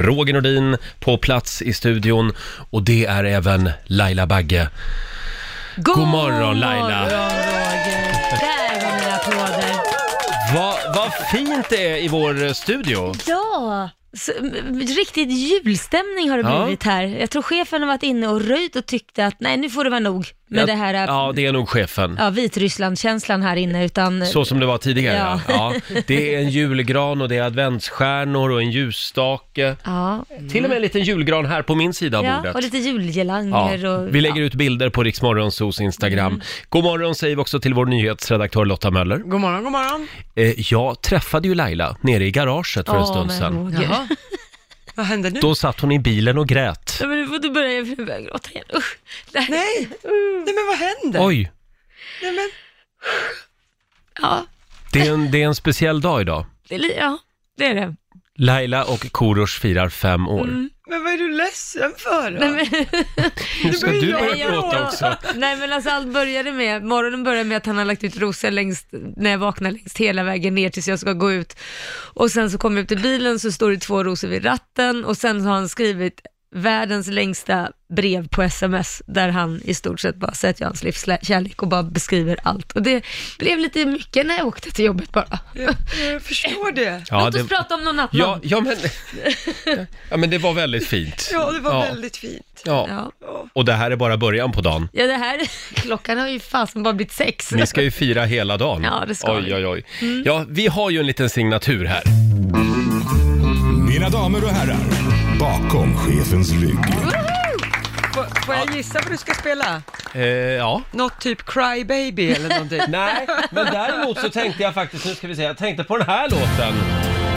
Roger Nordin på plats i studion och det är även Laila Bagge. God, morgon, Laila. morgon, Roger. Där var mina applåder. Va, vad fint det är i vår studio! Ja, så, m- riktigt julstämning har det Ja. blivit här. Jag tror chefen har varit inne och röjt och tyckte att nej, nu får det vara nog med Jag- det här Ja, ja. det är nog chefen. Vitryssland-känslan här inne, utan Så som det var tidigare. Ja. Ja. det är en julgran och det är adventsstjärnor och en ljusstake. ja, Till och med en liten julgran här på min sida av ja, bordet. och lite Ja, julgelanger och... Mm. vi lägger ut bilder på Riksmorgonsos Instagram. God morgon säger vi också till vår nyhetsredaktör Lotta Möller. God morgon, god morgon. Eh, jag träffade ju Laila nere i garaget för en Ja, stund men sedan. Roger. Vad hände nu? Då satt hon i bilen och grät. Nej, men nu får du börja, jag börjar gråta igen. Usch. Nej. Nej. Nej, men vad händer? Oj, Nej, men... Ja, det är en, det är en speciell dag idag. det är, li- ja, det är det. Laila och Korosh firar fem år. Mm, men vad är du ledsen för då? Nej, men... Nu ska börjar du jag börja gråta. gråta också. Nej men alltså allt började med, morgonen började med att han har lagt ut rosor längst, när jag vaknar längst hela vägen ner tills jag ska gå ut. Och sen så kommer jag ut till bilen så står det två rosor vid ratten och sen så har han skrivit världens längsta brev på sms där han i stort sett bara säger att jag är hans livskärlek och bara beskriver allt. Och det blev lite mycket när jag åkte till jobbet bara. Jag, jag förstår det. Ja, Låt oss det, prata om någon annan. ja, ja, men, ja, men det var väldigt fint. Ja, det var Ja. väldigt fint. Ja. Ja. Och det här är bara början på dagen. ja, det här, klockan har ju fasen bara blivit sex. Ni ska ju fira hela dagen. Ja, det ska oj, vi. Mm. oj, oj. Ja, vi har ju en liten signatur här. Mina damer och herrar, bakom chefens rygg. Får, får jag gissa vad du ska spela? Eh, ja. Något typ Cry Baby eller någonting? Nej, men däremot så tänkte jag faktiskt, nu ska vi se, jag tänkte på den här låten.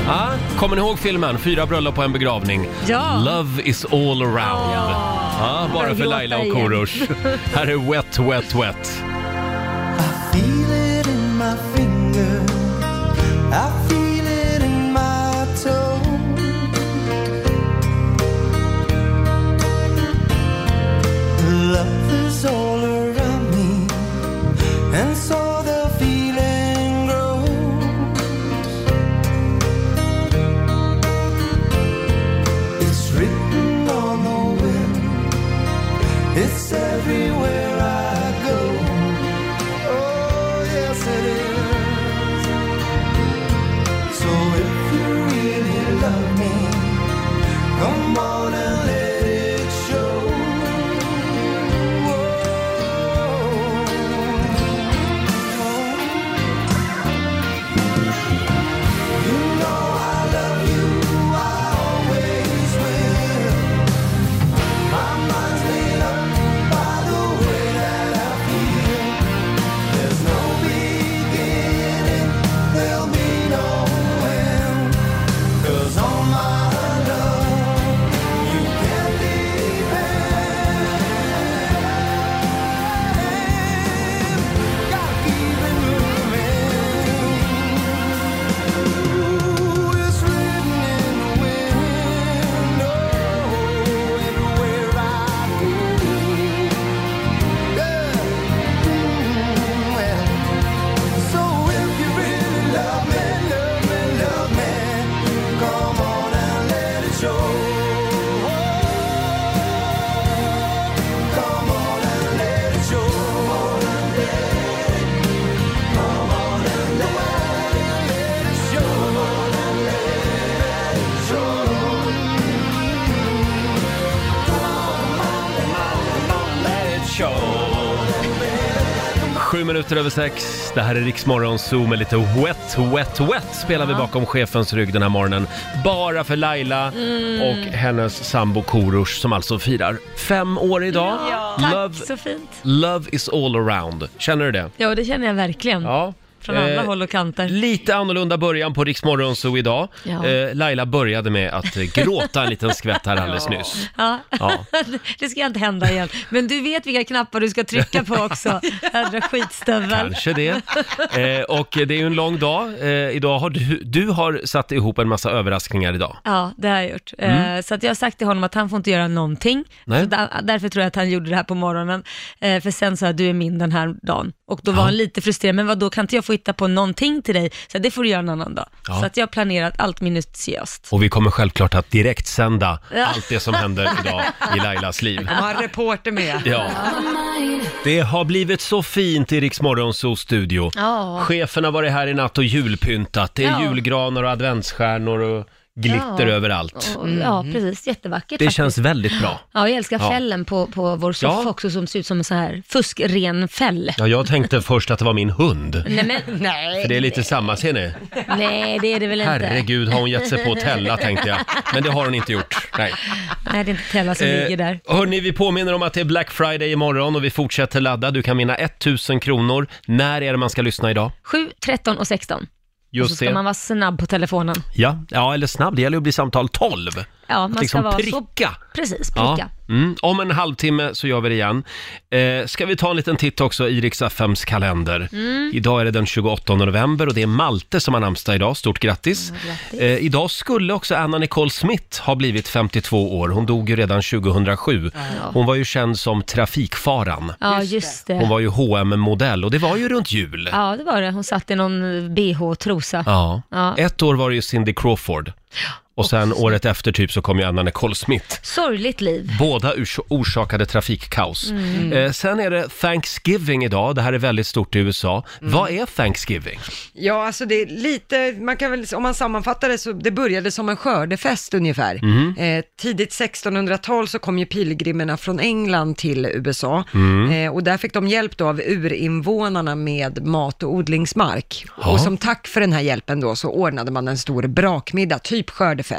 Ja, kommer ni ihåg filmen Fyra bröllop på en begravning? Ja. Love is all around. Ja. bara för Börjar gråta Laila och igen. Korosh. Här är Wet, Wet, Wet. Feel it in my finger. I feel it in my toe. Love is all around me, and so the feeling grows. It's written on the wind. It's everywhere I go. Oh, yes, it is. So if you really love me, come on and let it show. Oh. You know I love you, I always will. My mind's made up by the way that I feel. There's no beginning, there'll be no end. 'Cause on my love, you can depend. God-given romance. Ooh, it's written in the wind. Oh, everywhere I go. Yeah. So if you really love me, love me, love me, come on and let it show. Come on and let it show. Come on and let it show. Come on and let it show. Sju minuter över sex. Det här är Riksmorgon Zoo med lite Wet, Wet, Wet spelar vi bakom chefens rygg den här morgonen. Bara för Laila Mm. och hennes sambo Korosh som alltså firar fem år idag. Tack, Love, så fint. love is all around. Känner du det? Ja, det känner jag verkligen. Ja. Från alla Eh, håll och kanter. Lite annorlunda början på Riksmorgon Zoo idag. Ja. Eh, Laila började med att eh, gråta en liten skvätt här alldeles nyss. Ja. Ja. Det ska inte hända igen. Men du vet vilka knappar du ska trycka på också. Jädra skitstövel. Kanske det. Eh, och det är ju en lång dag. Eh, idag har du, du har satt ihop en massa överraskningar idag. Ja, det har jag gjort. Eh, så att jag har sagt till honom att han får inte göra någonting. Mm. Nej. Så da- därför tror jag att han gjorde det här på morgonen. Eh, för sen sa jag, du är min den här dagen. Och då var han lite frustrerad, men vad då kan inte jag får hitta på någonting till dig, så här, det får du göra en annan dag. Ja. Så att jag har planerat allt minutiöst. Och vi kommer självklart att direkt sända Ja. allt det som händer idag i Lailas liv. De har en reporter med. Ja. Det har blivit så fint i Rix Morgonzoos studio. Ja. Chefen har varit här i natt och julpyntat. Det är Ja. julgranar och adventsstjärnor och glitter Ja. överallt. Mm. Och- Ja, precis. Jättevackert Det faktiskt. känns väldigt bra. Ja, jag älskar Ja. fällen på, på vår soffa Ja. också som ser ut som en sån här fuskren fäll. Ja, jag tänkte först att det var min hund. Nej, men nej. För det är lite samma, ser ni? Nej, det är det väl inte. Herregud, har hon gett sig på Tella tänkte jag. Men det har hon inte gjort. Nej. Eh, Nej, det är inte Tella som ligger där. hörni, vi påminner om att det är Black Friday imorgon och vi fortsätter ladda. Du kan vinna 1000 kronor. När är det man ska lyssna idag? 7, 13 och 16. och så Just ska det. man vara snabb på telefonen. Ja. ja, eller snabb. Det gäller att bli samtal 12. Ja, man att liksom ska vara pricka. så... Precis, Ja. pricka. Mm. Om en halvtimme så gör vi det igen. Eh, ska vi ta en liten titt också i Rix FMs kalender. Idag är det den 28 november och det är Malte som har namnsdag idag. Stort grattis! eh, idag skulle också Anna Nicole Smith ha blivit 52 år. Hon dog ju redan 2007. Hon var ju känd som trafikfaran. Ja, just det. Hon var ju hm modell och det var ju runt jul. Ja, det var det. Hon satt i någon bh-trosa. Ja. Ja. Ett år var det ju Cindy Crawford. Och sen året efter typ så kom ju Anna Nicole Smith. Sorgligt liv. Båda ors- orsakade trafikkaos. Eh, sen är det Thanksgiving idag. Det här är väldigt stort i USA. Vad är Thanksgiving? Ja, alltså det är lite, man kan väl, om man sammanfattar det så, det började som en skördefest ungefär. Mhm. Mm-hmm. Eh, tidigt 1600-tal så kom ju pilgrimerna från England till USA Mm. Mm-hmm. eh, och där fick de hjälp då av urinvånarna med mat och odlingsmark. Ja. Och som tack för den här hjälpen då så ordnade man en stor brakmiddag, typ skördefest.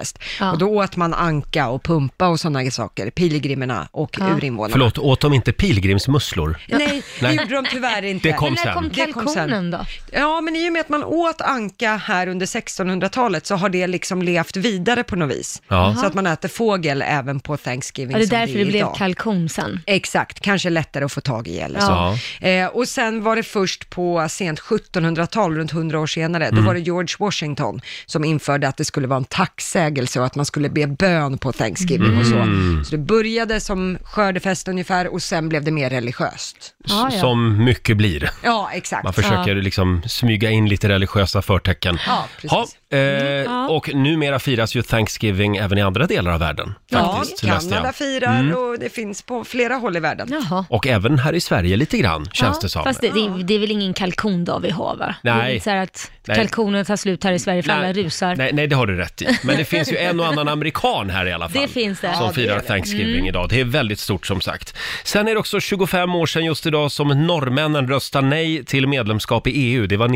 Ja. Och då åt man anka och pumpa och sådana saker, pilgrimerna och urinvånarna. Förlåt, åt de inte pilgrimsmusslor? Nej, det Nej. gjorde de tyvärr inte. Det kom Men när sen. kom Det kom sen. kalkonen då? Ja, men i och med att man åt anka här under 1600-talet så har det liksom levt vidare på något vis. Ja. Så att man äter fågel även på Thanksgiving Ja, det är som därför det blev liksom idag. kalkon sen. Exakt, kanske lättare att få tag i eller Ja. så. Eh, och sen var det först på sent 1700-tal, runt 100 år senare, Mm. då var det George Washington som införde att det skulle vara en tacksägelse och att man skulle be bön på Thanksgiving och så. Mm. Så det började som skördefest ungefär och sen blev det mer religiöst. S- Ja, ja. Som mycket blir. Ja, exakt. Man försöker liksom smyga in lite religiösa förtecken. Ja, precis. Ja, eh, och numera firas ju Thanksgiving även i andra delar av världen. Ja, Faktiskt, läste Kanada jag. Mm. firar och det finns på flera håll i världen. Jaha. Och även här i Sverige lite grann, känns Ja, det som. Fast det, det, är, det är väl ingen kalkondag vi har va? Det Nej. är inte så här att Nej. kalkonen tar slut här i Sverige för alla rusar. Nej, nej, det har du rätt i. Men det finns ju en och annan amerikan här i alla fall. Det finns det. Mm. Som Ja, firar Thanksgiving idag. Det är väldigt stort som sagt. Sen är det också 25 år sedan just idag som norrmännen röstade nej till medlemskap i EU. Det var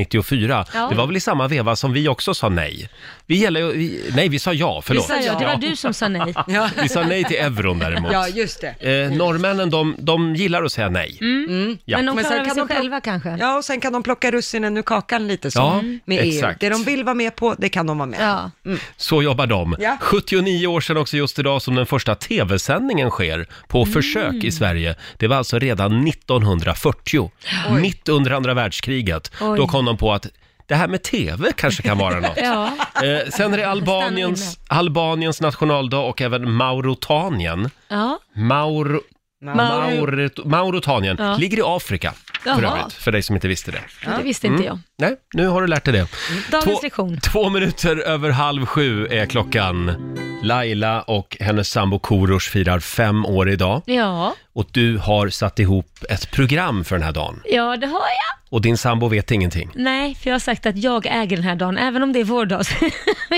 1994. Ja. Det var väl i samma veva som vi också sa nej. Vi gäller, ju- vi, nej, vi sa ja, förlåt. Sa jag, det var du som sa nej. Ja. Vi sa nej till euron däremot. Ja, just det. Eh, norrmännen, de, de gillar att säga nej. Mm. Ja. Mm. Men de Men sen klarar väl kan sig de- själva kanske? Ja, och sen kan de plocka russinen ur kakan lite så Ja, med EU. exakt. Det de vill vara med på, det kan de vara med Mm. Ja. Så jobbar de. Ja. 79 år sedan också just idag som den första tv-sändningen sker på försök i Sverige. Det var alltså redan 1940, mitt under andra världskriget. Oj. Då kom de på att det här med tv kanske kan vara något. Ja. eh, sen är Mm-hmm. det Albaniens, Albaniens nationaldag och även Mauretanien. ja. Maur... Mauret- Mauretanien Ja. ligger i Afrika, för Jaha. övrigt, för dig som inte visste det. Mm. Det visste inte jag. Mm. Nej, nu har du lärt dig det. Dagens två, lektion. två minuter över halv sju är klockan. Laila och hennes sambo Korosh firar fem år idag. Ja, Och du har satt ihop ett program för den här dagen. ja det har jag. Och din sambo vet ingenting. Nej, för jag har sagt att jag äger den här dagen, även om det är vår dag. så-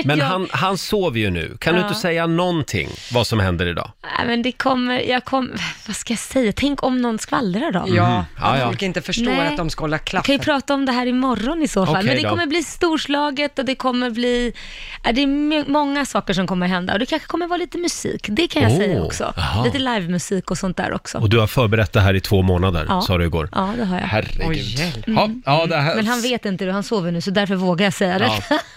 Men jag, han, han sover ju nu. Kan du Ja. inte säga någonting vad som händer idag? Nej, men det kommer, jag kommer, vad ska jag säga? Tänk om någon skvallrar då? Ja, Ja, att Mm. ja. folk inte förstår Nej. att de ska hålla Vi kan klaffen. ju prata om det här imorgon i så fall, Okej men det då. kommer bli storslaget och det kommer bli, ja, det är my- många saker som kommer hända och det kanske kommer vara lite musik, det kan jag Oh, säga också. aha. Lite livemusik och sånt där också. Och du har förberett det här i två månader, Ja. sa du igår. Ja, det har jag. Mm. Herregud. Oj, hjälp. ja, ja, det här... Men han vet inte det, han sover nu, så därför vågar jag säga det.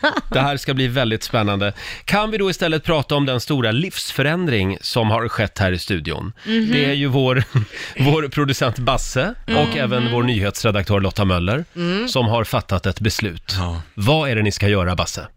Ja, det här ska bli väldigt spännande. Kan vi då istället prata om den stora livsförändring som har skett här i studion? Mhm. Det är ju vår, vår producent Basse Mhm. och även vår nyhetsredaktör Lotta Möller Mm. som har fattat ett beslut. Ja. Vad är det ni ska göra, Basse?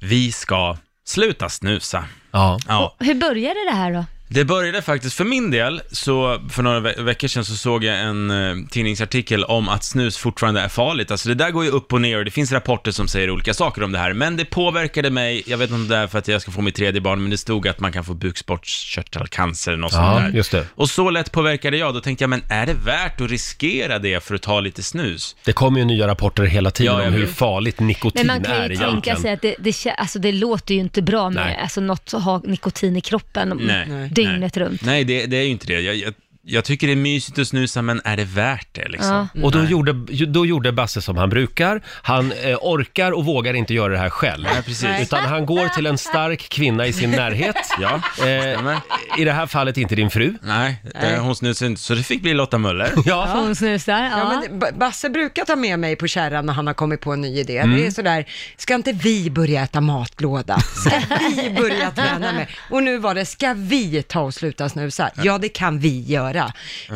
Vi ska sluta snusa. Ja. Ja. Hur började det här då? Det började faktiskt, för min del, så för några ve- veckor sedan så såg jag en eh, tidningsartikel om att snus fortfarande är farligt. Alltså det där går ju upp och ner och det finns rapporter som säger olika saker om det här. Men det påverkade mig, jag vet inte om det är för att jag ska få mitt tredje barn, men det stod att man kan få bukspottkörtelcancer eller något Ja, sånt där. just det. Och så lätt påverkade jag, då tänkte jag, men är det värt att riskera det för att ta lite snus? Det kommer ju nya rapporter hela tiden Ja, jag om hur vet. farligt nikotin Men man är kan ju tänka egentligen. sig att det, det, kä- alltså det låter ju inte bra Nej. med alltså något att ha nikotin i kroppen Nej. Nej. dygnet runt. Nej, det, det är ju inte det. Jag, jag, jag tycker det är mysigt att snusa, men är det värt det liksom? Ja. Och då gjorde, då gjorde Basse som han brukar. Han eh, orkar och vågar inte göra det här själv. Nej, precis. Utan han går till en stark kvinna i sin närhet. Ja, Eh, stämmer. I det här fallet inte din fru. Nej, det, hon snusar inte, så det fick bli Lotta Möller. Ja, Hon snusar, ja. Ja, men B- Basse brukar ta med mig på kärran när han har kommit på en ny idé. Mm. Det är sådär, ska inte vi börja äta matlåda? Ska vi börja träna med? Och nu var det, ska vi ta och sluta snusa? Ja, det kan vi göra.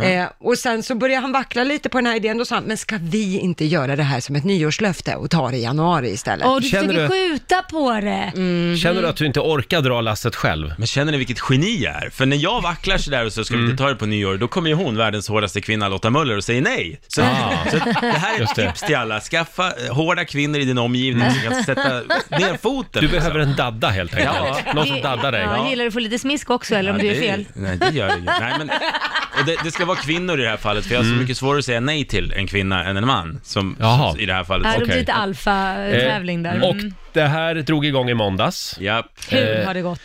Eh, och sen så började han vackla lite på den här idén, då sa han, men ska vi inte göra det här som ett nyårslöfte och ta det i januari istället? Åh, du Känner försöker du- skjuta på det. Mm. känner du att du inte orkar dra lasset själv? Men känner ni vilket geni jag är? För när jag vacklar sådär och så ska Mm. vi inte ta det på nyår, då kommer ju hon, världens hårdaste kvinna, Lotta Möller, och säger nej. Så, Ah. så det här är Just ett det. tips till alla. Skaffa eh, hårda kvinnor i din omgivning som kan sätta ner foten. liksom. Du behöver en dadda helt enkelt. Någon som daddar dig. Ja, gillar du att få lite smisk också eller om du är fel? Nej, det gör det ju. Nej, men, och det, det ska vara kvinnor i det här fallet, för jag har så mycket svårare att säga nej till en kvinna än en man, som Mm. Jaha. i det här fallet. Ja, det okej. blir lite alfa-tävling där. Eh, Och Mm. det här drog igång i måndags. Japp. Hur har det gått?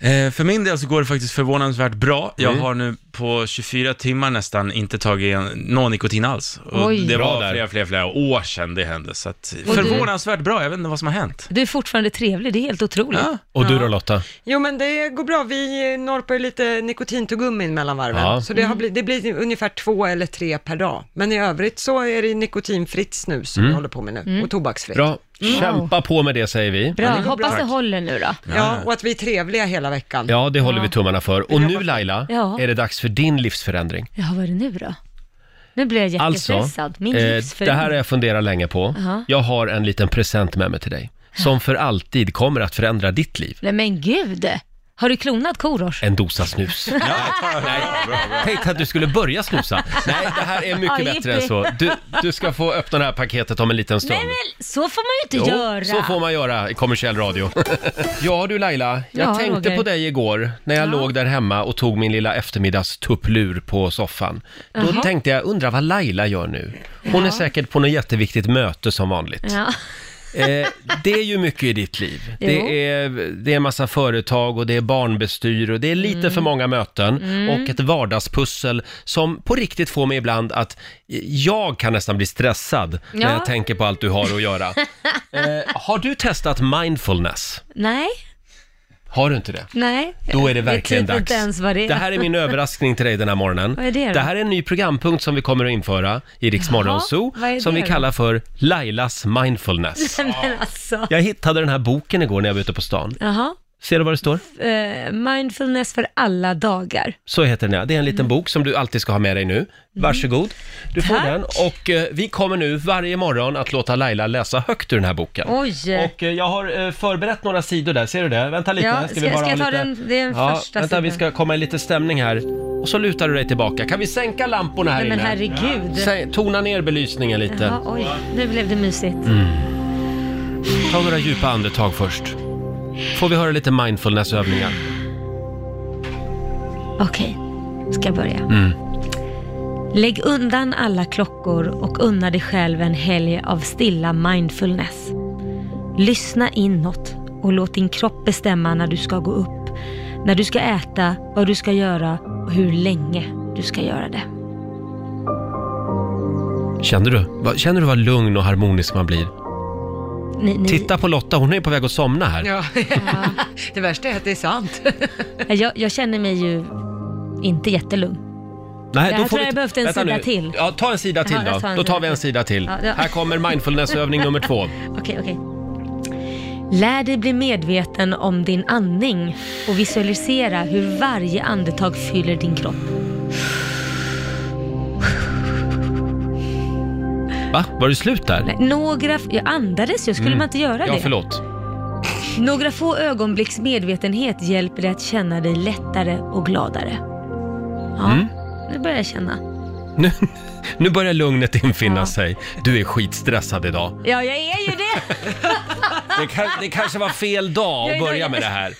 Eh, för min del så går det faktiskt förvånansvärt bra. Jag Mm. har nu på 24 timmar nästan inte tagit en, någon nikotin alls. Och Oj. det Bra var där. flera, flera, flera år sedan det hände. Så att, Och du- förvånansvärt bra, jag vet inte vad som har hänt. Du är fortfarande trevlig, det är helt otroligt. Ja. Och du då Lotta? Jo men det går bra, vi norpar ju lite nikotintuggummin mellan varven. Ja. Så det, Mm. har blivit, det blir ungefär två eller tre per dag. Men i övrigt så är det nikotinfritt snus som vi håller på med nu, och tobaksfritt. Mm. Mm. Bra. Kämpa på med det säger vi. Mm. Bra, hoppas det håller nu då. Ja, och att vi är trevliga hela veckan. Ja, det håller vi tummarna för. Och nu Laila, Ja. är det dags för din livsförändring. Ja, vad är det nu då? Nu blir jag Alltså, jättestressad. Min eh, det livsförändring. här har jag funderat länge på. Jaha. Jag har en liten present med mig till dig. Som för alltid kommer att förändra ditt liv. Nej men gud! Har du klonat Korosh? En dosa snus. Tänk att du skulle börja snusa. Nej, det här är mycket Ja, bättre än jippi. så. Du, du ska få öppna det här paketet om en liten stund. Nej men så får man ju inte göra! så får man göra i kommersiell radio. ja du Laila, jag Ja, tänkte Roger. på dig igår när jag låg där hemma och tog min lilla eftermiddagstupplur på soffan. Då tänkte jag, undrar vad Laila gör nu? Hon är säkert på något jätteviktigt möte som vanligt. Ja. Eh, det är ju mycket i ditt liv. Jo. Det är, det är en massa företag och det är barnbestyr och det är lite Mm. för många möten och ett vardagspussel som på riktigt får mig ibland att eh, jag kan nästan bli stressad när Ja. jag tänker på allt du har att göra. eh, har du testat mindfulness? Nej, Har du inte det? nej. Då är det verkligen jag vet dags. inte ens vad det är. Det här är min överraskning till dig den här morgonen. Vad är det då? här är en ny programpunkt som vi kommer att införa i Rix Morgon Zoo, vad är det som vi då? kallar för Lailas mindfulness. Nej, men alltså. Jag hittade den här boken igår när jag var ute på stan. Jaha. Ser du vad det står? Eh, mindfulness för alla dagar. Så heter den ja. Det är en liten bok som du alltid ska ha med dig nu. Varsågod. Du får Mm. Tack. den. Och eh, vi kommer nu varje morgon att låta Laila läsa högt ur den här boken. Oj! Och eh, jag har eh, förberett några sidor där, ser du det? Vänta lite, Ja, här ska- ha ska jag ta lite... den- det är den första Vänta, vi sidan. ska komma i lite stämning här. Och så lutar du dig tillbaka. Kan vi sänka lamporna här Nej men inne? herregud. Sä- Tona ner belysningen lite. Ja, oj, nu blev det mysigt. Ta några djupa andetag först. Får vi höra lite mindfulnessövningar? Okej, ska jag börja? Mm. Lägg undan alla klockor och unna dig själv en helg av stilla mindfulness. Lyssna inåt och låt din kropp bestämma när du ska gå upp, när du ska äta, vad du ska göra och hur länge du ska göra det. Känner du? Va- Känner du vad lugn och harmonisk man blir? Ni, ni, Titta på Lotta, hon är på väg att somna här. Ja. det värsta är att det är sant. Jag, jag känner mig ju inte jättelugn. Nej, Det här tror jag behövde en Vänta sida nu. till. Ja, ta en sida till Ja, jag då. tar en Då tar sida vi en till. sida till. Ja, det- Här kommer mindfulnessövning nummer två. Okej, okej. Lär dig bli medveten om din andning och visualisera hur varje andetag fyller din kropp. Va? Var det slut där? Nej, några... Jag andades ju, skulle man inte göra Mm. Ja, det? förlåt. Några få ögonblicks medvetenhet hjälper dig att känna dig lättare och gladare. Ja, nu börjar jag känna. Mm. Nu, nu börjar lugnet infinna sig. Du är skitstressad idag. Ja, jag är ju det! Det, kan, det kanske var fel dag Jag att är börja nöjd. med det här.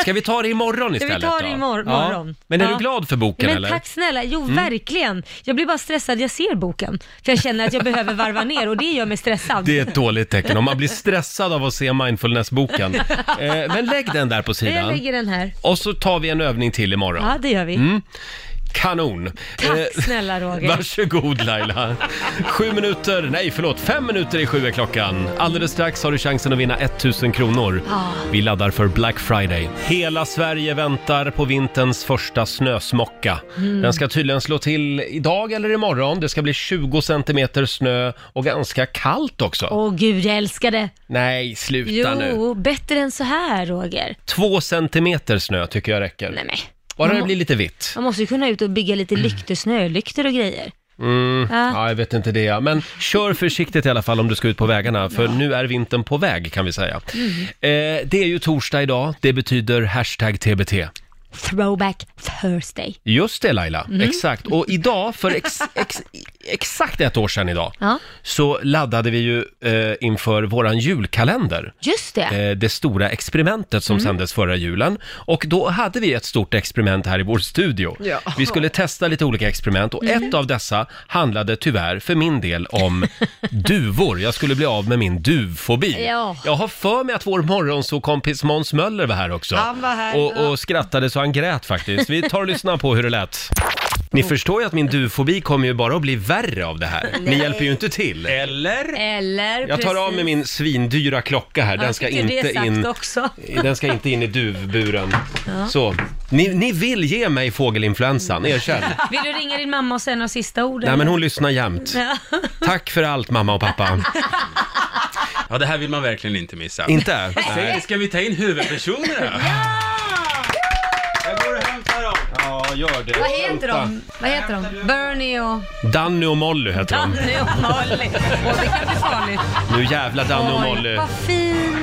Ska vi ta det imorgon vi istället tar det då? imor- Ja. morgon. Men är Ja. du glad för boken Men eller? Mm. tack snälla, jo verkligen. Jag blir bara stressad, jag ser boken. För jag känner att jag behöver varva ner och det gör mig stressad. Det är ett dåligt tecken om man blir stressad av att se mindfulnessboken. Eh, men lägg den där på Jag sidan. lägger den här. Och så tar vi en övning till imorgon. Ja, det gör vi. Kanon! Eh, Tack snälla Roger. Mm. Varsågod Laila. Sju minuter, nej förlåt, fem minuter i sju är klockan. Alldeles strax har du chansen att vinna 1000 kronor. Vi laddar för Black Friday. Hela Sverige väntar på vinterns första snösmocka. Mm. Den ska tydligen slå till idag eller imorgon. Det ska bli 20 centimeter snö och ganska kallt också. Åh gud, jag älskar det. Nej, sluta Jo, nu. bättre än så här Roger. Två centimeter snö tycker jag räcker. Nej men, Mm. Bara det blir lite vitt. man måste ju kunna ut och bygga lite lyktor, snölyktor och grejer. Mm, Ja. ja, jag vet inte det. ja. Men kör försiktigt i alla fall om du ska ut på vägarna, för nu är vintern på väg kan vi säga. Eh, det är ju torsdag idag, det betyder hashtag TBT. Throwback Thursday. Just det Laila, Mm. exakt. Och idag, för ex, ex, exakt ett år sedan idag, Ja, så laddade vi ju eh, inför våran julkalender. just det. eh, det stora experimentet Mm. som sändes förra julen. Och då hade vi ett stort experiment här i vår studio. Ja. Mm. Vi skulle testa lite olika experiment och ett av dessa handlade tyvärr för min del om duvor. Jag skulle bli av med min duvfobi. Ja. Jag har för mig att vår morgonsåkompis Måns Möller var här också. Han var här, och, ja. och skrattade så han grät faktiskt. Vi tar och lyssnar på hur det lät. Mm. Ni förstår ju att min duvfobi kommer ju bara att bli värre av det här. Ni hjälper ju inte till. Eller? Eller Jag tar av mig min svindyra klocka här. Den ska inte in... också. Den ska inte in i duvburen. Så, ni, ni vill ge mig fågelinfluensan, Mm. erkänn. Vill du ringa din mamma och säga några sista ord? Nej men hon lyssnar jämt. Ja. Tack för allt mamma och pappa. Ja, det här vill man verkligen inte missa. Inte? Säg, ska vi ta in huvudpersonerna? ja! Jag går och hämtar dem. Ja, gör det. Vad heter de? Vad heter de? Bernie och... Danny och Molly heter de. Danny och Molly. Åh, det kan bli farligt. Nu jävla Danny och Oj, Molly. Vad fina!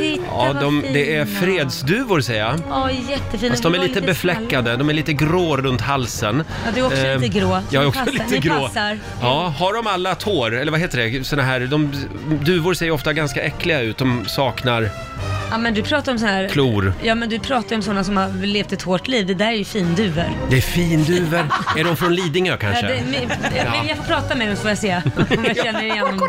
Titta Ja, vad de, fina. det är fredsduvor säger jag. Ja, jättefina. Fast de är Du var lite befläckade, de är lite grå runt halsen. Ja, du är också Eh, lite grå. Jag är Ni också passar- lite ni grå. passar. Ja, har de alla tår, eller vad heter det, såna här, de, duvor ser ju ofta ganska äckliga ut, de saknar snälla. Ja, men du pratar om så här... klor. Ja, men du pratar ju om sådana som har levt ett hårt liv. Det där är ju finduvor. Det är finduvor. är de från Lidingö Ja, kanske? det, men, men jag får prata med dem så får jag se om jag känner igen dem.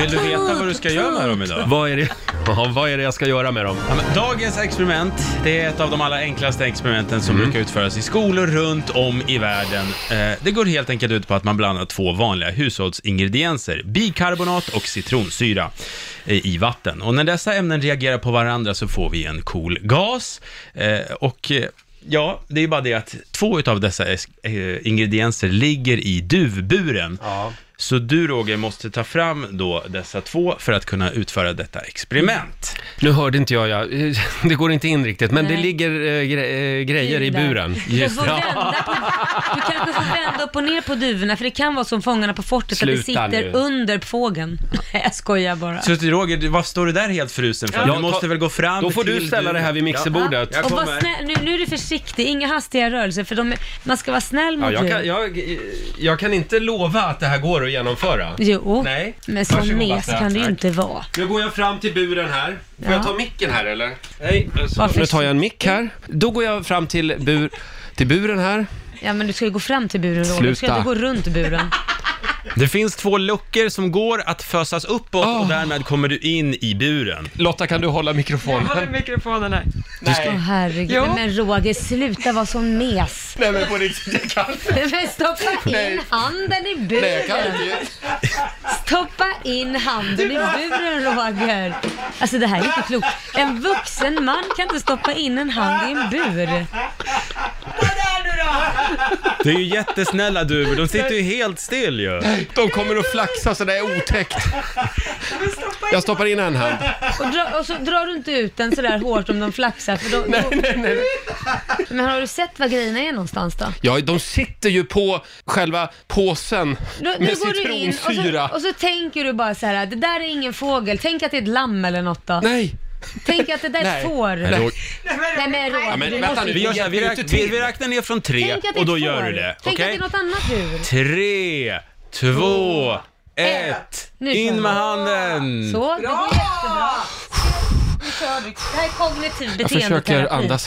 Vill du veta vad du ska göra med dem idag? Vad, är det? Ja, vad är det jag ska göra med dem? Ja, men dagens experiment, det är ett av de allra enklaste experimenten som Mm. brukar utföras i skolor runt om i världen. Eh, det går helt enkelt ut på att man blandar två vanliga hushållsingredienser, bikarbonat och citronsyra, eh, i vatten. Och när dessa ämnen reagerar på varandra så får vi en cool gas. Eh, och eh, Ja, det är bara det att två utav dessa es- eh, ingredienser ligger i duvburen. Så du Roger måste ta fram då dessa två för att kunna utföra detta experiment. Nu hörde inte jag, jag. det går inte in riktigt, men Nej. det ligger eh, gre- eh, grejer i Där. buren. Du, får vända på, du kanske får vända upp och ner på duvorna för det kan vara som Fångarna på fortet att Sluta det sitter nu. under fågeln. Nej, jag skojar bara. Så till Roger, du- varför står du där helt frusen för? Ja, du ta- måste väl gå fram Då får du till ställa det här vid mixerbordet. Ja. Jag och var kommer. snäll, nu, nu är du försiktig, inga hastiga rörelser för de, är- man ska vara snäll Ja, mot jag, djur. kan, jag, jag kan inte lova att det här går att genomföra. Jo, Nej. men så Varsågod, mes Basse. kan det ju Tack. inte vara. Nu går jag fram till buren här. Får Ja. jag ta micken här eller? Nej. Varför- Nu tar jag en mick här. Då går jag fram till, bur, till buren här. Ja, men du ska ju gå fram till buren Roger, du ska Sluta. inte gå runt buren. Det finns två luckor som går att fösas uppåt och därmed kommer du in i buren. Ah. Lotta kan du hålla mikrofonen? Håller mikrofonen här. Åh herregud, Jo. men Roger sluta vara som mes. Nej men på riktigt, jag kan Nej, Men stoppa in handen i buren. inte. Stoppa in handen i buren Roger. Alltså det här är inte klokt. En vuxen man kan inte stoppa in en hand i en bur. Det är ju jättesnälla duvor, de sitter ju helt still ju. De kommer att flaxa sådär otäckt. Jag stoppar in en hand. Och, dra, och så drar du inte ut den sådär hårt om de flaxar. För då, då... Men har du sett var grejerna är någonstans då? Ja, de sitter ju på själva påsen Då, nu med går du in och citronsyra. så, och så tänker du bara så här, det där är ingen fågel, tänk att det är ett lamm eller något då. Nej! Tänk att det där är Nej. ett får. Nej, då- Nej men Ja, råd, men du vänta måste nu, ju- Vi, gör så här, vi, Hjälper räknar, inte till. vi, vi räknar ner från tre Tänk att det är och då ett gör får. du det. Tänk Okej? att det är något annat djur. Tre, två, ett. Nu kör vi. In med handen. Så, det går jättebra. Det här är kognitiv Jag försöker beteendeterapi. andas.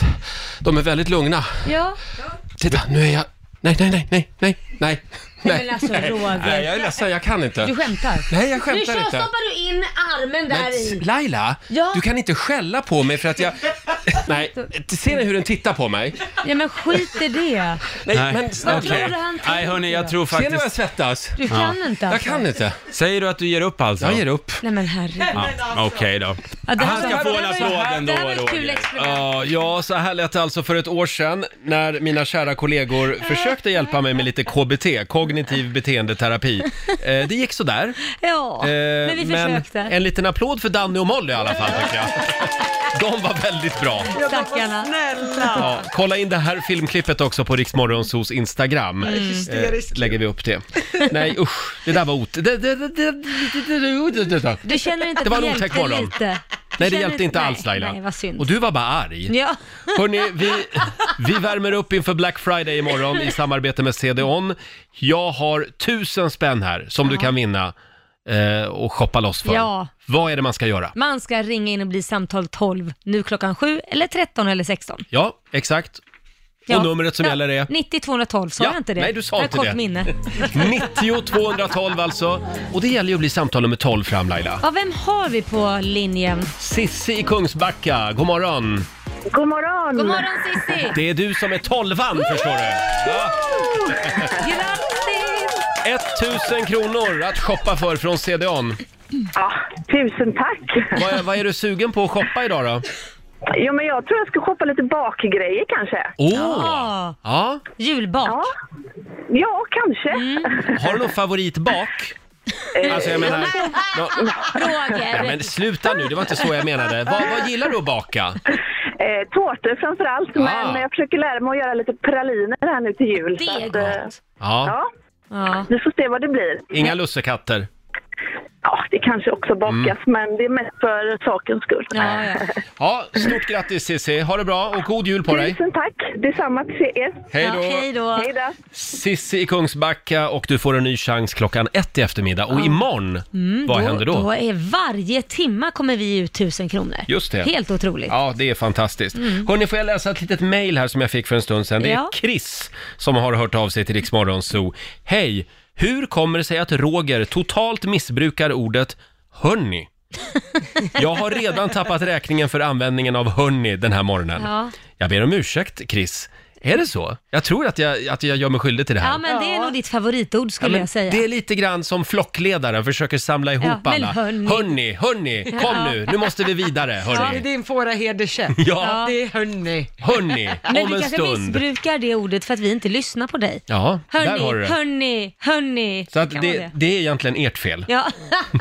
De är väldigt lugna. Ja, Titta, nu är jag... Nej, nej, nej, nej, nej, nej. men alltså Nej, Roger. jag är ledsen, jag kan Du inte. skämtar. Nej, jag Nu skämtar kör, inte. stoppar du in armen där Men i. Laila, Ja. du kan inte skälla på mig för att jag... Nej, ser ni hur den tittar på mig? Ja men skit i det. Nej, Nej, men... Vad okej. tror du han tänker Nej hörni, jag då? tror Ser ni vad jag faktiskt... svettas? Du kan inte Jag alltså. kan inte. Säger du att du ger upp alltså? Jag ger upp. Nej men herregud. Ja, Okej då. Ja, det här Han var- ska det få här en var- applåd ändå, Det här var ett kul Roger. experiment. Ja, ja, så här lät det alltså för ett år sedan när mina kära kollegor försökte hjälpa mig med lite KBT, kognitiv beteendeterapi. Eh, det gick sådär. Ja, Eh, men vi försökte. en liten applåd för Danny och Molly i alla fall tycker jag. De var väldigt bra. Stackarna. Snälla! Ja, kolla in det här filmklippet också på Riksmorgonsos Instagram. Mm. hysteriskt. Eh, lägger vi upp det. Nej usch, det där var ot... Det, det, det, det, det, det, det, det, det. Du känner inte att Det var det en otäck hjälpte morgon. lite? Nej det Känner hjälpte inte nej, alls Laila. Nej, vad synd. Och du var bara arg. Ja. Hörni, vi, vi värmer upp inför Black Friday imorgon i samarbete med CDON. Jag har tusen spänn här som du kan vinna eh, och shoppa loss för. Ja. Vad är det man ska göra? Man ska ringa in och bli samtal 12 nu klockan 7 eller 13 eller 16. Ja, exakt. Ja. Och numret som gäller är? 90 212, sa Ja, jag inte det? nej, du sa Jag har inte kort det. minne. 90 212 alltså. Och det gäller ju att bli samtal nummer 12 fram Laila. Ja, vem har vi på linjen? Sissi i Kungsbacka, god morgon. God morgon! God morgon Cissi! Det är du som är tolvan förstår du. Ja. Grattis! 1000 kronor att shoppa för från CDON. Ja, tusen tack! Vad är, vad är du sugen på att shoppa idag då? Jo, men jag tror jag ska shoppa lite bakgrejer kanske. Åh! Ja. Ja. Julbak. Ja, ja kanske. Eh, Har du någon favoritbak? Alltså jag menar... Nå, Roger! ja, men sluta nu, det var inte så jag menade. Vad, vad gillar du att baka? Eh, tårtor framför allt, men jag försöker lära mig att göra lite praliner här nu till jul. Det så är att, eh, gott. Ja, Ja, Ja. vi får se vad det blir. inga lussekatter. Ja, det kanske också Mm. bakas, men det är mest för sakens skull. Ja, ja. Ja, stort grattis Cissi. Ha det bra och god jul på dig. Tusen tack! Detsamma till er. Hej Ja, då! hej då. Hej då! Sissi i Kungsbacka och du får en ny chans klockan ett i eftermiddag. Och imorgon, vad händer Mm, Då då? är varje timma kommer vi ut tusen kronor. Just det. Helt otroligt. Mm. Ja, det är fantastiskt. Hörni, får jag läsa ett litet mejl här som jag fick för en stund sedan? Det är Ja. Chris som har hört av sig till Riksmorgon Zoo. Hej! Hur kommer det sig att Roger totalt missbrukar ordet hörni? Jag har redan tappat räkningen för användningen av hörni den här morgonen. Ja. Jag ber om ursäkt, Chris. Är det så? Jag tror att jag, att jag gör mig skyldig till det här. Ja, men det är nog ditt favoritord skulle Ja, men jag säga. Det är lite grann som flockledaren försöker samla ihop Ja, men alla. hörni. hörni, hörni, kom nu, nu måste vi vidare, Det är hörni. din fåra hederscheck. Ja, Det är hörni. hörni, Men om du en kanske stund. missbrukar det ordet för att vi inte lyssnar på dig. Ja, där har du Hörni, det. hörni, hörni. Så att Kan vara det, det är egentligen ert fel. Ja,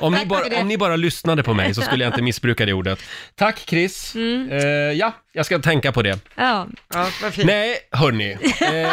Om ni, bara, om ni bara lyssnade på mig så skulle jag inte missbruka det ordet. Tack Chris. Mm. Eh, ja, jag ska tänka på det. ja. Ja, vad fint. Nej, hörni. Eh,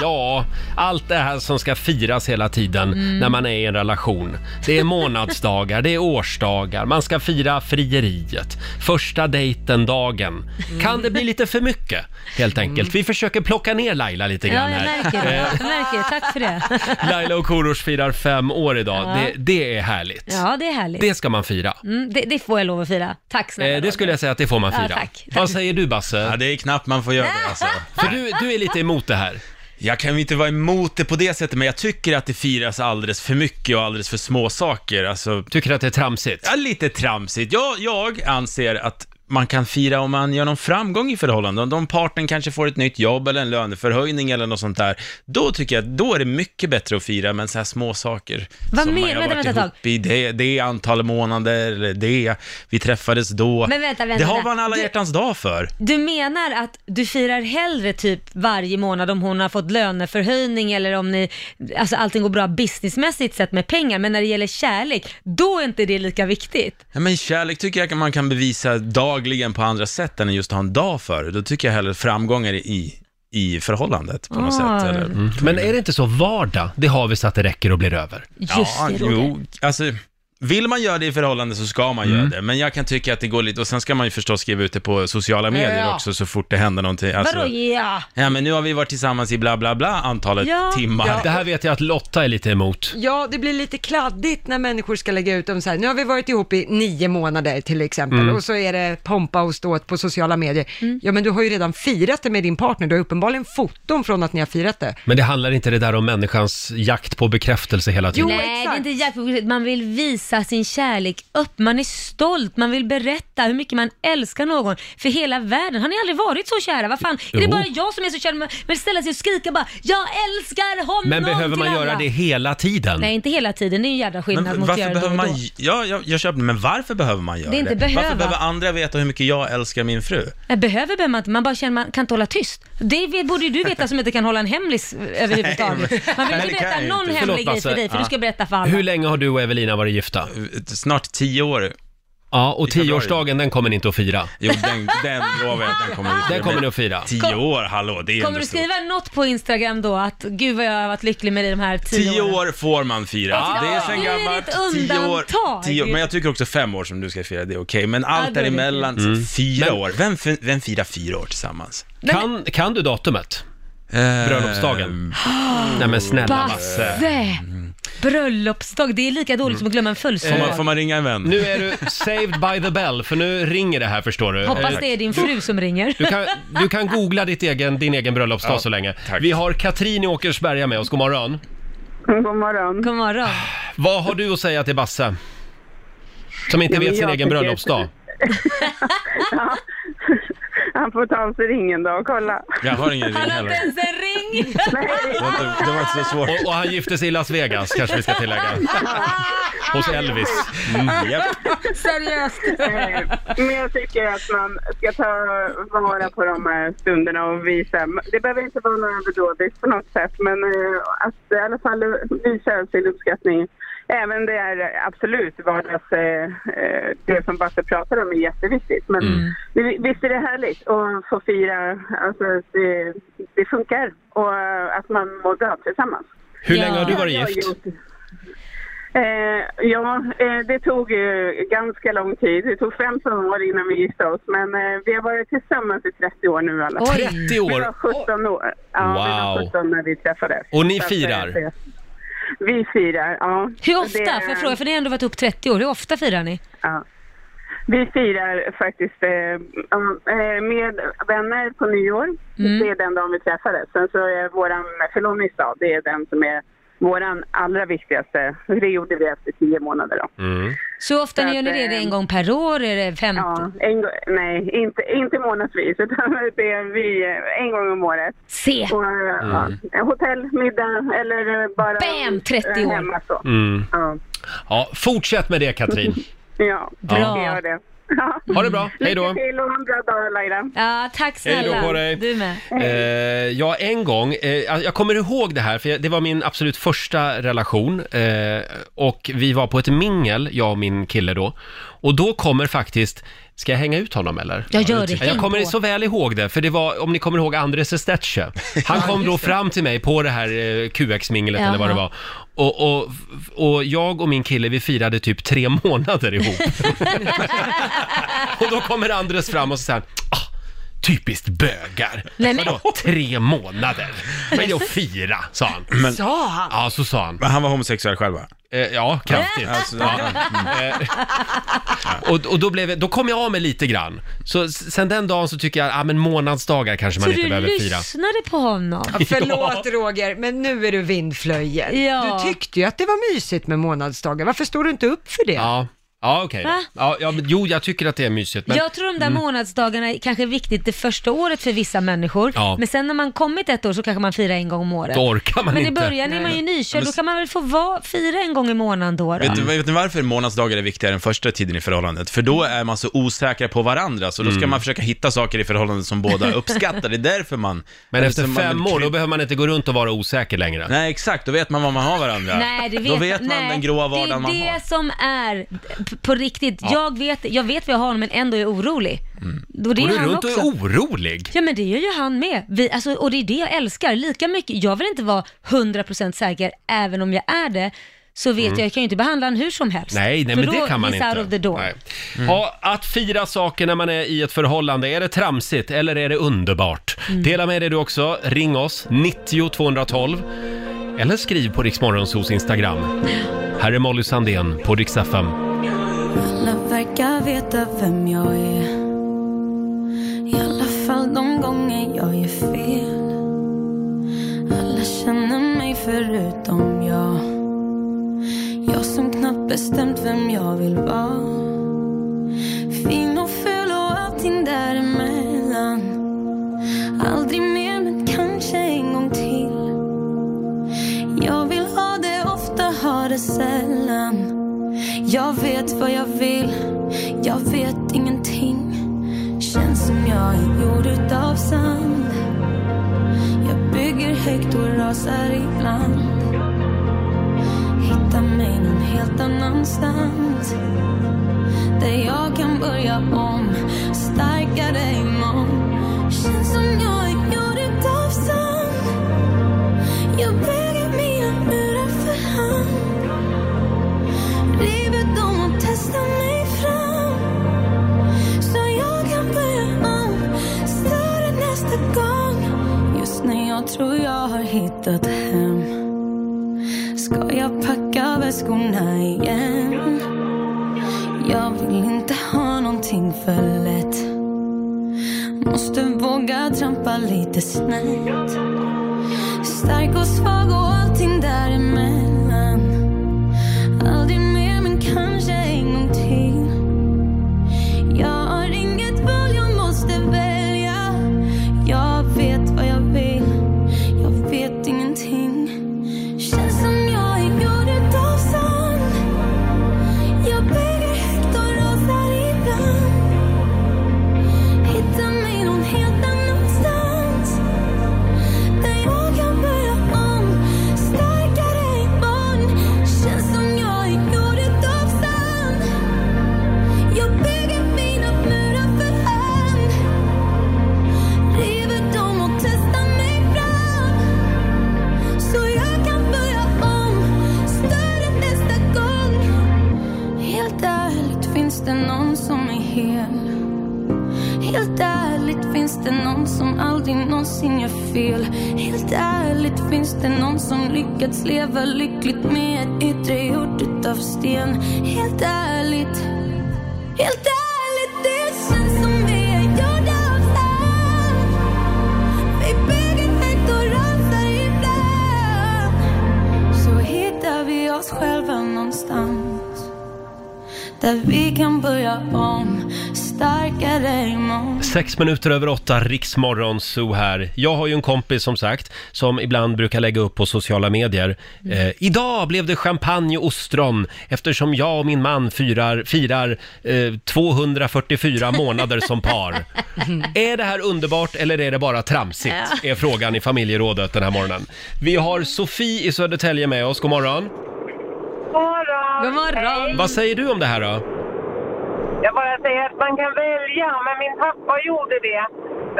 ja, allt det här som ska firas hela tiden Mm. när man är i en relation. Det är månadsdagar, det är årsdagar, man ska fira frieriet, första dejten-dagen. Mm. Kan det bli lite för mycket, helt enkelt? Vi försöker plocka ner Laila lite ja grann jag här. Eh. märker det. Jag märker det. Tack för det. Laila och Korosh firar fem år idag. Det, det är härligt. Ja, det är härligt. Det ska man fira. Mm, det, det får jag lov att fira. Tack snälla. Eh, det skulle jag säga att det får man Ja, fira. tack. Vad säger du Ja, Basse? det är knappt man får göra det alltså. För du, du är lite emot det här. Jag kan ju inte vara emot det på det sättet, men jag tycker att det firas alldeles för mycket och alldeles för små saker. Alltså, Tycker att det är tramsigt. ja, lite tramsigt. Jag, jag anser att man kan fira om man gör någon framgång i förhållandet. Om de parten kanske får ett nytt jobb eller en löneförhöjning eller något sånt där. Då tycker jag att då är det mycket bättre att fira med så här små saker. Vad som men- man har vänta, varit vänta ett ihop i det, det antal månader eller det, vi träffades då. Men vänta, vänta, det har vänta. man alla Du- hjärtans dag för. Du menar att du firar hellre typ varje månad om hon har fått löneförhöjning eller om ni, alltså allting går bra businessmässigt sett med pengar, men när det gäller kärlek, då är inte det lika viktigt. Ja, men kärlek tycker jag att man kan bevisa dagligen på andra sätt än just att ha en dag för. Då tycker jag hellre framgångar i, i förhållandet på något Ah. sätt. Eller? Men är det inte så vardag? Det har vi så att det räcker och Mm. blir över. Just det, Roger. jo, alltså, vill man göra det i förhållande så ska man Mm. göra det. Men jag kan tycka att det går lite, och sen ska man ju förstås skriva ut det på sociala medier Ja. också så fort det händer någonting. Vadå Alltså, ja? ja, men nu har vi varit tillsammans i bla bla bla antalet Ja. timmar. Det här vet jag att Lotta är lite emot. Ja, det blir lite kladdigt när människor ska lägga ut dem så här. Nu har vi varit ihop i nio månader till exempel och så är det pompa och ståt på sociala medier. Mm. Ja, men du har ju redan firat det med din partner. Du har uppenbarligen foton från att ni har firat det. Men det handlar inte det där om människans jakt på bekräftelse hela tiden? Jo, Nej, det är exakt. inte jackpot. Man vill visa sin kärlek upp, man är stolt, man vill berätta hur mycket man älskar någon för hela världen. Har ni aldrig varit så kära? Vad fan, är det Jo. bara jag som är så kär? Man vill ställa sig och skrika bara “Jag älskar honom!” Men behöver till man göra alla. det hela tiden? Nej, inte hela tiden. Det är en jävla skillnad Men mot att göra varför det då behöver och man, då. ja, jag, jag köper det, men varför behöver man göra det? Det är inte behöva. Varför behöver andra veta hur mycket jag älskar min fru? Nej, behöver behöver man inte. Man bara känner man kan inte hålla tyst. Det vet- borde ju du veta som inte kan hålla en hemlis eh, överhuvudtaget. Man vill Nej, inte det kan berätta jag någon inte. alltså, Förlåt, hemlig grej Basse. för dig, för Ja. du ska berätta för alla. Hur länge har du och Evelina varit gifta? Eh, Snart tio år. Ja, och I februari. tioårsdagen den kommer ni inte att fira. Jo, den, den lovar jag att den kommer Den kommer ni att fira. Tio år, hallå, det är Kommer ändå du stort. skriva något på Instagram då att “Gud vad jag har varit lycklig med dig de här tio, Tio åren”? år får man fira. Ja, det är sen det är gammalt. ett Tio år, undantag. tio år. Men jag tycker också fem år som du ska fira, det är okej. Men allt Ja, då är det däremellan, så fyra Mm. Men- år. Vem, fi- vem firar fyra år tillsammans? Ehm, Kan, kan du datumet? Bröllopsdagen? eh, Nej men snälla Basse. Ah, Basse! Bröllopsdag, det är lika dåligt som att glömma en Får födelsedag. man, Mm. får man ringa en vän? Nu är du saved by the bell, för nu ringer det här förstår du. Eh, Hoppas det är din Mm. fru som ringer. Du kan, du kan googla ditt egen, din egen bröllopsdag Ja, så länge. tack. Vi har Katrin i Åkersberga med oss, God morgon. Mm, God morgon. God morgon. Vad har du att säga till Basse? Som inte Ja, men vet sin jag egen tycker- bröllopsdag. Han får ta av sig ringen då och kolla. Jag har ingen ring Han har inte heller. ens en ring! Det var inte- Det var inte så svårt. Och, och han gifte sig i Las Vegas, kanske vi ska tillägga. Hos Elvis. Mm, japp. Seriöst. Eh, Men jag tycker att man ska ta vara på de här stunderna och visa. Det behöver inte vara något överdådigt på något sätt, men eh, att i alla fall visa sin uppskattning. Även det är absolut vardags, eh, eh, det som Basse pratar om är jätteviktigt. Men vi- visst är det härligt att få fira, alltså att det, det funkar och eh, att man mår bra tillsammans. Hur Ja. länge har du Ja, varit jag har gift? gjort. Eh, ja, eh, det tog eh, ganska lång tid. Det tog 15 år innan vi gifte oss, men eh, vi har varit tillsammans i 30 år nu i alla fall. Oj. 30 Vi var år 17 år. Ja, vi Wow. var 17 när vi träffades. Och ni Så att, eh, firar? det- Vi firar, ja. Hur ofta? Det- Får jag fråga? För ni har ändå varit upp 30 år. Hur ofta firar ni? Ja. Vi firar faktiskt eh, um, eh, med vänner på nyår. Det är den dagen vi träffades. Sen så är våran förlovningsdag, det är den som är våran allra viktigaste. Det gjorde vi efter tio månader då. Mm. Så ofta Så ni gör ni att, det? Är det en eh, gång per år? Är det 50? Ja, en, gång- nej, inte, inte månadsvis, utan det är vi eh, en gång om året. Se! Och, eh, Mm. ja, hotell, middag eller eh, bara Bam, 30 eh, år. hemma så. Mm. Ja, Ja, fortsätt med det Katrin. ja. Bra. vi gör det. Ja. Ha det bra, hej då. Lycka till och ha en bra dag Laila. Ja, tack Hej snälla. då på dig. Du med. Eh, ja, en gång. Eh, jag kommer ihåg det här, för jag- det var min absolut första relation. Eh, och vi var på ett mingel, jag och min kille då. Och då kommer faktiskt, ska jag hänga ut honom eller? Jag gör det. Jag Häng kommer på. så väl ihåg det, för det var, om ni kommer ihåg Andres Estetche. Han kom då fram till mig på det här eh, QX-minglet eller vad det Jaha. var. Och, och, och jag och min kille, vi firade typ tre månader ihop. och då kommer Andres fram och så säger han, ah, typiskt bögar. Nej, men- Vadå, tre månader? Men det är att fira, sa han. Men- sa han? Ja, så sa han. Men han var homosexuell själv va? Eh, ja, kraftigt. Eh, Alltså, ja. Och, och då, blev, då kom jag av mig lite grann. Så s- sen den dagen så tycker jag, ah, men månadsdagar kanske man Så inte du behöver fira. lyssnade på honom? Förlåt Roger, men nu är du vindflöjel. Ja. Du tyckte ju att det var mysigt med månadsdagar. Varför står du inte upp för det? Ja, Ja, okej. då. Va? Ja, ja, men jo, jag tycker att det är mysigt. Men... Mm. jag tror de där Mm. månadsdagarna är kanske viktigt det första året för vissa människor. Ja. Men sen när man kommit ett år så kanske man firar en gång om året. Då orkar man men inte. i början är man ju nykörd, då kan man väl få va- fira en gång i månaden då. då. Vet, du, vet ni varför månadsdagar är viktigare än första tiden i förhållandet? För då Mm. är man så osäker på varandra, så då ska man försöka hitta saker i förhållandet som båda uppskattar. Det är därför man... Men efter eftersom man fem vill år, då krydda- behöver man inte gå runt och vara osäker längre. Nej, exakt. Då vet man vad man har varandra. Nej, det vet, då vet man nej, den gråa vardagen man Det är det har. som är p- på riktigt. Jag, vet, jag vet vad jag har honom men ändå är jag orolig. Och det Går är du han runt och också. är orolig? Ja men det gör ju han med. Vi, alltså, och det är det jag älskar. Lika mycket, jag vill inte vara 100% säker, även om jag är det, så vet jag, jag kan ju inte behandla honom hur som helst. Mm. Nej, nej För men då det kan man is inte. out of the door. Nej. Ja, att fira saker när man är i ett förhållande, är det tramsigt eller är det underbart? Mm. Dela med dig du också. Ring oss, 90 212. Eller skriv på Riksmorgonsos Instagram. Här är Molly Sandén på Rix FM. Alla verkar veta vem jag är I alla fall de gånger jag gör fel Alla känner mig förutom jag Jag som knappt bestämt vem jag vill vara Fin och ful och allting däremellan Aldrig mer men kanske en gång till Jag vill ha det ofta, ha det sällan jag vet vad jag vill, jag vet ingenting Känns som jag är gjord utav sand Jag bygger högt och rasar ibland Hitta mig någon helt annanstans Där jag kan börja om, starkare imorgon Känns som jag är gjord utav sand Jag bygger mina murar för hand Livet de har testat mig fram Så jag kan börja om Större nästa gång Just när jag tror jag har hittat hem Ska jag packa väskorna igen Jag vill inte ha någonting för lätt Måste våga trampa lite snett Stark och svag och allting däremellan Aldrig mer men kanske en gång till Jag har inget val, jag måste välja Jag vet vad jag vill, jag vet ingenting Känns som jag är gjord utav sand Jag bygger högt och rasar ibland Hittar mig någon helt annanstans där jag kan börja om Starkare imorgon Känns som jag är gjord utav sand Jag bygger mina murar för hand River dem och testar mig fram Så jag kan börja om Större nästa gång Helt ärligt finns det någon som är hel Helt ärligt finns det någon som aldrig någonsin gör fel Helt ärligt finns det någon som lyckats leva lyckligt med ett yttre gjort utav sten Helt ärligt, helt ärligt det känns som vi är gjorda av sand Vi bygger högt och rasar ibland Så hittar vi oss själva någonstans där vi kan börja om, starkare imorgon Sex minuter över åtta, Riksmorgon Zoo här. Jag har ju en kompis som sagt, som ibland brukar lägga upp på sociala medier. Eh, idag blev det champagne och ostron eftersom jag och min man firar, firar eh, 244 månader som par. är det här underbart eller är det bara tramsigt? Är frågan i familjerådet den här morgonen. Vi har Sofie i Södertälje med oss, god morgon. God morgon! Vad säger du om det här då? Jag bara säger att man kan välja, men min pappa gjorde det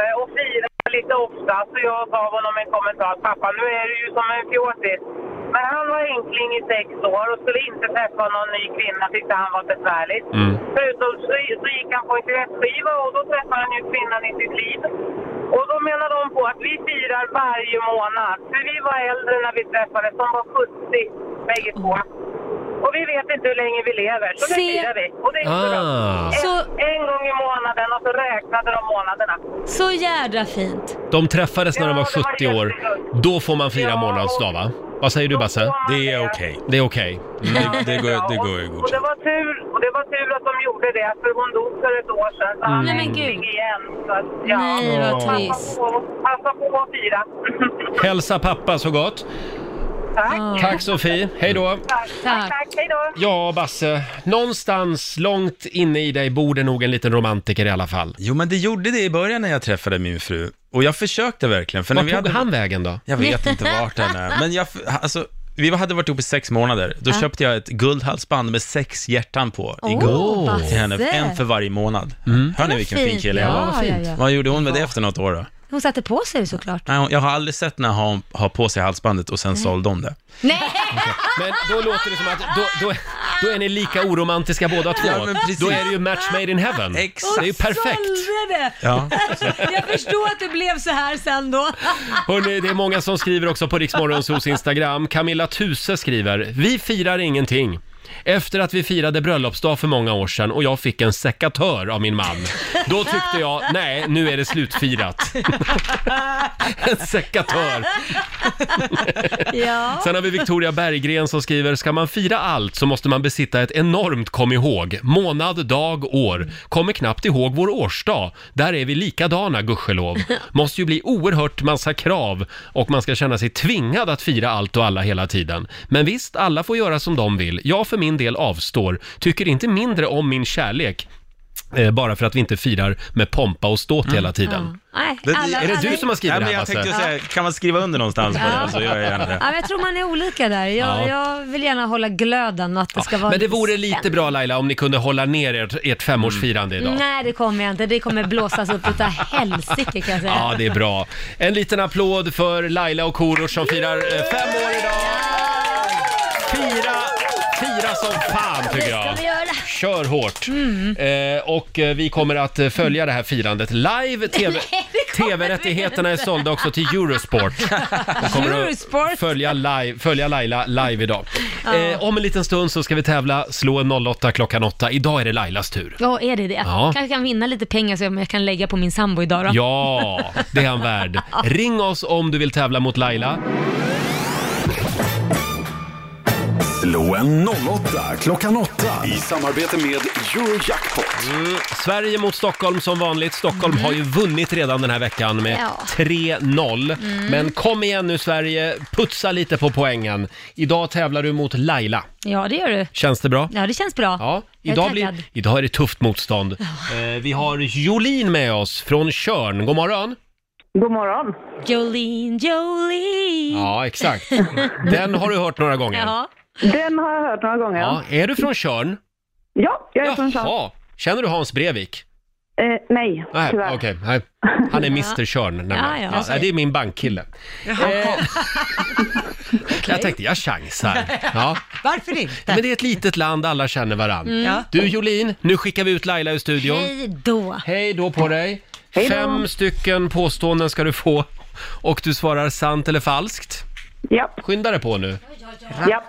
eh, och firade lite ofta. Så jag gav honom en kommentar. Pappa, nu är du ju som en fjortis. Men han var enkling i sex år och skulle inte träffa någon ny kvinna, tyckte han var besvärligt. Mm. Förutom så, så gick han på en kräftskiva och då träffade han ju kvinnan i sitt liv. Och då menar de på att vi firar varje månad. För vi var äldre när vi träffades, de var 70 bägge två. Och vi vet inte hur länge vi lever, så nu Se- firar vi. Och det är inte bra. Ah. En, Så- en gång i månaden och så räknade de månaderna. Så jädra fint. De träffades när de var Ja, det var 70 år. jätteskönt. Då får man fira Ja, och- månadsdag va? Vad säger du Basse? Då får man Det är säga- okej. Det är okej. Det, det går, det går ju Och, och det godkänt. var tur, och det var tur att de gjorde det, för hon dog för ett år sedan. Så han Mm. Nej, men fick gud. igen. Så att, ja. Nej, vad Åh. Passa trist. på, passa på att fira. Hälsa pappa så gott. tack, Tack Sofie, hej då. tack, tack, tack. Hej då. Ja, Basse, någonstans långt inne i dig bor det nog en liten romantiker i alla fall. Jo, men det gjorde det i början när jag träffade min fru. Och jag försökte verkligen. För när Vart vi tog hade... han vägen då? Jag vet inte vart han är. Men jag, alltså, vi hade varit ihop i sex månader. Då köpte jag ett guldhalsband med sex hjärtan på i guld. Åh, Till henne, Basse. en för varje månad. Mm. Hör ni vilken fin fint. kille jag Ja, var? ja, ja. Vad gjorde hon med det efter något år då? Hon satte på sig det såklart. Nej, hon- jag har aldrig sett när hon har på sig halsbandet och sen sålde hon det. Nej! Men då låter det som att då, då, då är ni lika oromantiska båda två. Ja, men precis. då är det ju match made in heaven. Exakt. Det är ju perfekt. Sålde det! Ja. Jag förstår att det blev så här sen då. Hörrni, det är många som skriver också på Riksmorgonsos Instagram. Camilla Tuse skriver, vi firar ingenting. Efter att vi firade bröllopsdag för många år sedan och jag fick en sekatör av min man. Då tyckte jag, nej, nu är det slutfirat. en sekatör. Ja. Sen har vi Victoria Berggren som skriver, ska man fira allt så måste man besitta ett enormt kom ihåg. Månad, dag, år. Kommer knappt ihåg vår årsdag. Där är vi likadana, gudskelov. Måste ju bli oerhört massa krav och man ska känna sig tvingad att fira allt och alla hela tiden. Men visst, alla får göra som de vill. Jag för min del avstår. Tycker inte mindre om min kärlek. eh, Bara för att vi inte firar med pompa och ståt Mm. hela tiden. Nej, Det- alla, är det Är alla, det du som har Ja, skrivit det men här, jag Basse? tänkte säga, kan man skriva under någonstans på det? Så gör jag gärna det. Ja, men jag tror man är olika där. Jag, Ja. jag vill gärna hålla glöden och att det ska vara Men det lite vore spännande. Mm. lite bra Laila om ni kunde hålla ner ert, ert femårsfirande idag. Nej, det kommer jag inte. Det kommer blåsas upp utav helsike kan jag säga. Ja, det är bra. En liten applåd för Laila och Korosh som firar eh, fem år idag. Fira, fira som fan tycker ska jag. vi göra. Mm. Kör hårt. Eh, och eh, vi kommer att eh, följa det här firandet live. TV, TV-rättigheterna är sålda också till Eurosport. Vi kommer att Eurosport. följa, live, följa Laila live idag. Eh, om en liten stund så ska vi tävla Slå en 08 klockan 8. Idag är det Lailas tur. Ja, är det det? Ja. Kanske kan vinna lite pengar som jag kan lägga på min sambo idag då. Ja, det är han värd. Ring oss om du vill tävla mot Laila. Slå en 08 klockan 8 i samarbete med Eurojackpot. Mm. Sverige mot Stockholm som vanligt. Stockholm har ju vunnit redan den här veckan med Mm. Ja. Mm. 3-0. Men kom igen nu Sverige, putsa lite på poängen. Idag tävlar du mot Laila. Ja, det gör du. Känns det bra? Ja, det känns bra. Ja, Jag är idag, taggad. blir, idag är det tufft motstånd. Eh, vi har Jolin med oss från Körn. God morgon! God morgon. Jolene, Jolene. Ja, exakt. Den har du hört några gånger. Ja. Den har jag hört några gånger. Ja, Ja, är du från Körn? jag är från Charles. Känner du Hans Brevik? Eh, nej, Nej, tyvärr. okej. nej. Han är Mr Körn nämligen. Ja, ja, ja. nej, det är min bankkille. Eh, Jag tänkte, jag chansar. Ja. Varför inte? Men det är ett litet land, alla känner varann. Ja. Du Jolin, nu skickar vi ut Laila ur studion. Hej, Mm. Hej då. då på dig. Fem stycken påståenden ska du få och du svarar sant eller falskt. Ja, Skynda dig på nu. ja.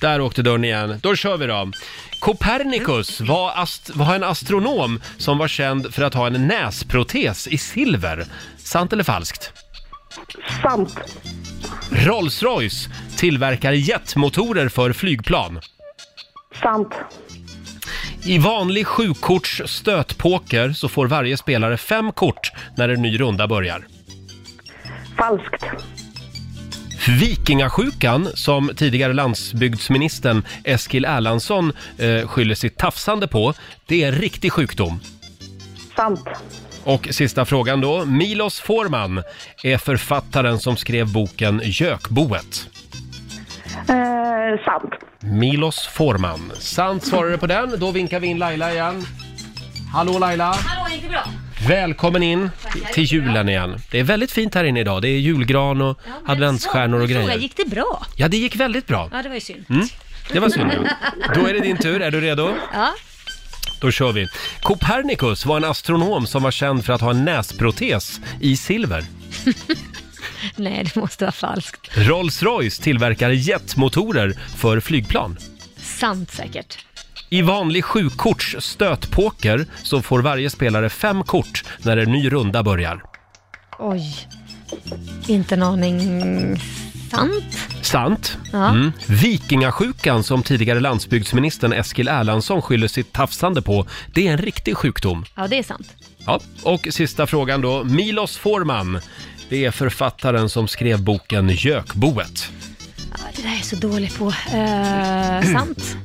Där åkte dörren igen. Då kör vi då. Copernicus var, ast- var en astronom som var känd för att ha en näsprotes i silver. Sant eller falskt? Sant. Rolls-Royce tillverkar jetmotorer för flygplan. Sant. I vanlig sjukorts stötpoker så får varje spelare fem kort när en ny runda börjar. Falskt. Vikingasjukan, som tidigare landsbygdsministern Eskil Erlandsson eh, skyller sitt tafsande på, det är en riktig sjukdom. Sant. Och sista frågan då. Milos Forman är författaren som skrev boken Jökboet. Eh, sant. Milos Forman. Sant svarade på den. Då vinkar vi in Laila igen. Hallå Laila! Hallå, gick det bra? Välkommen Mm. in till julen igen. Det är väldigt fint här inne idag. Det är julgran och adventsstjärnor och Fråga, grejer. gick det bra? Ja, det gick väldigt bra. Mm. Ja, det var ju synd. Det var synd. Då är det din tur. Är du redo? Ja. Då kör vi. Copernicus var en astronom som var känd för att ha en näsprotes i silver. Nej, det måste vara falskt. Rolls-Royce tillverkar jetmotorer för flygplan. Sant säkert. I vanlig sjukorts stötpoker så får varje spelare fem kort när en ny runda börjar. Oj. Inte en aning. Sant. Sant. Ja. Mm. Vikingasjukan som tidigare landsbygdsministern Eskil Erlandsson skyller sitt tafsande på, det är en riktig sjukdom. Ja, det är sant. Ja. Och sista frågan då, Milos Forman. Det är författaren som skrev boken Jökboet. Ja, det där är jag så dålig på. Eh, sant.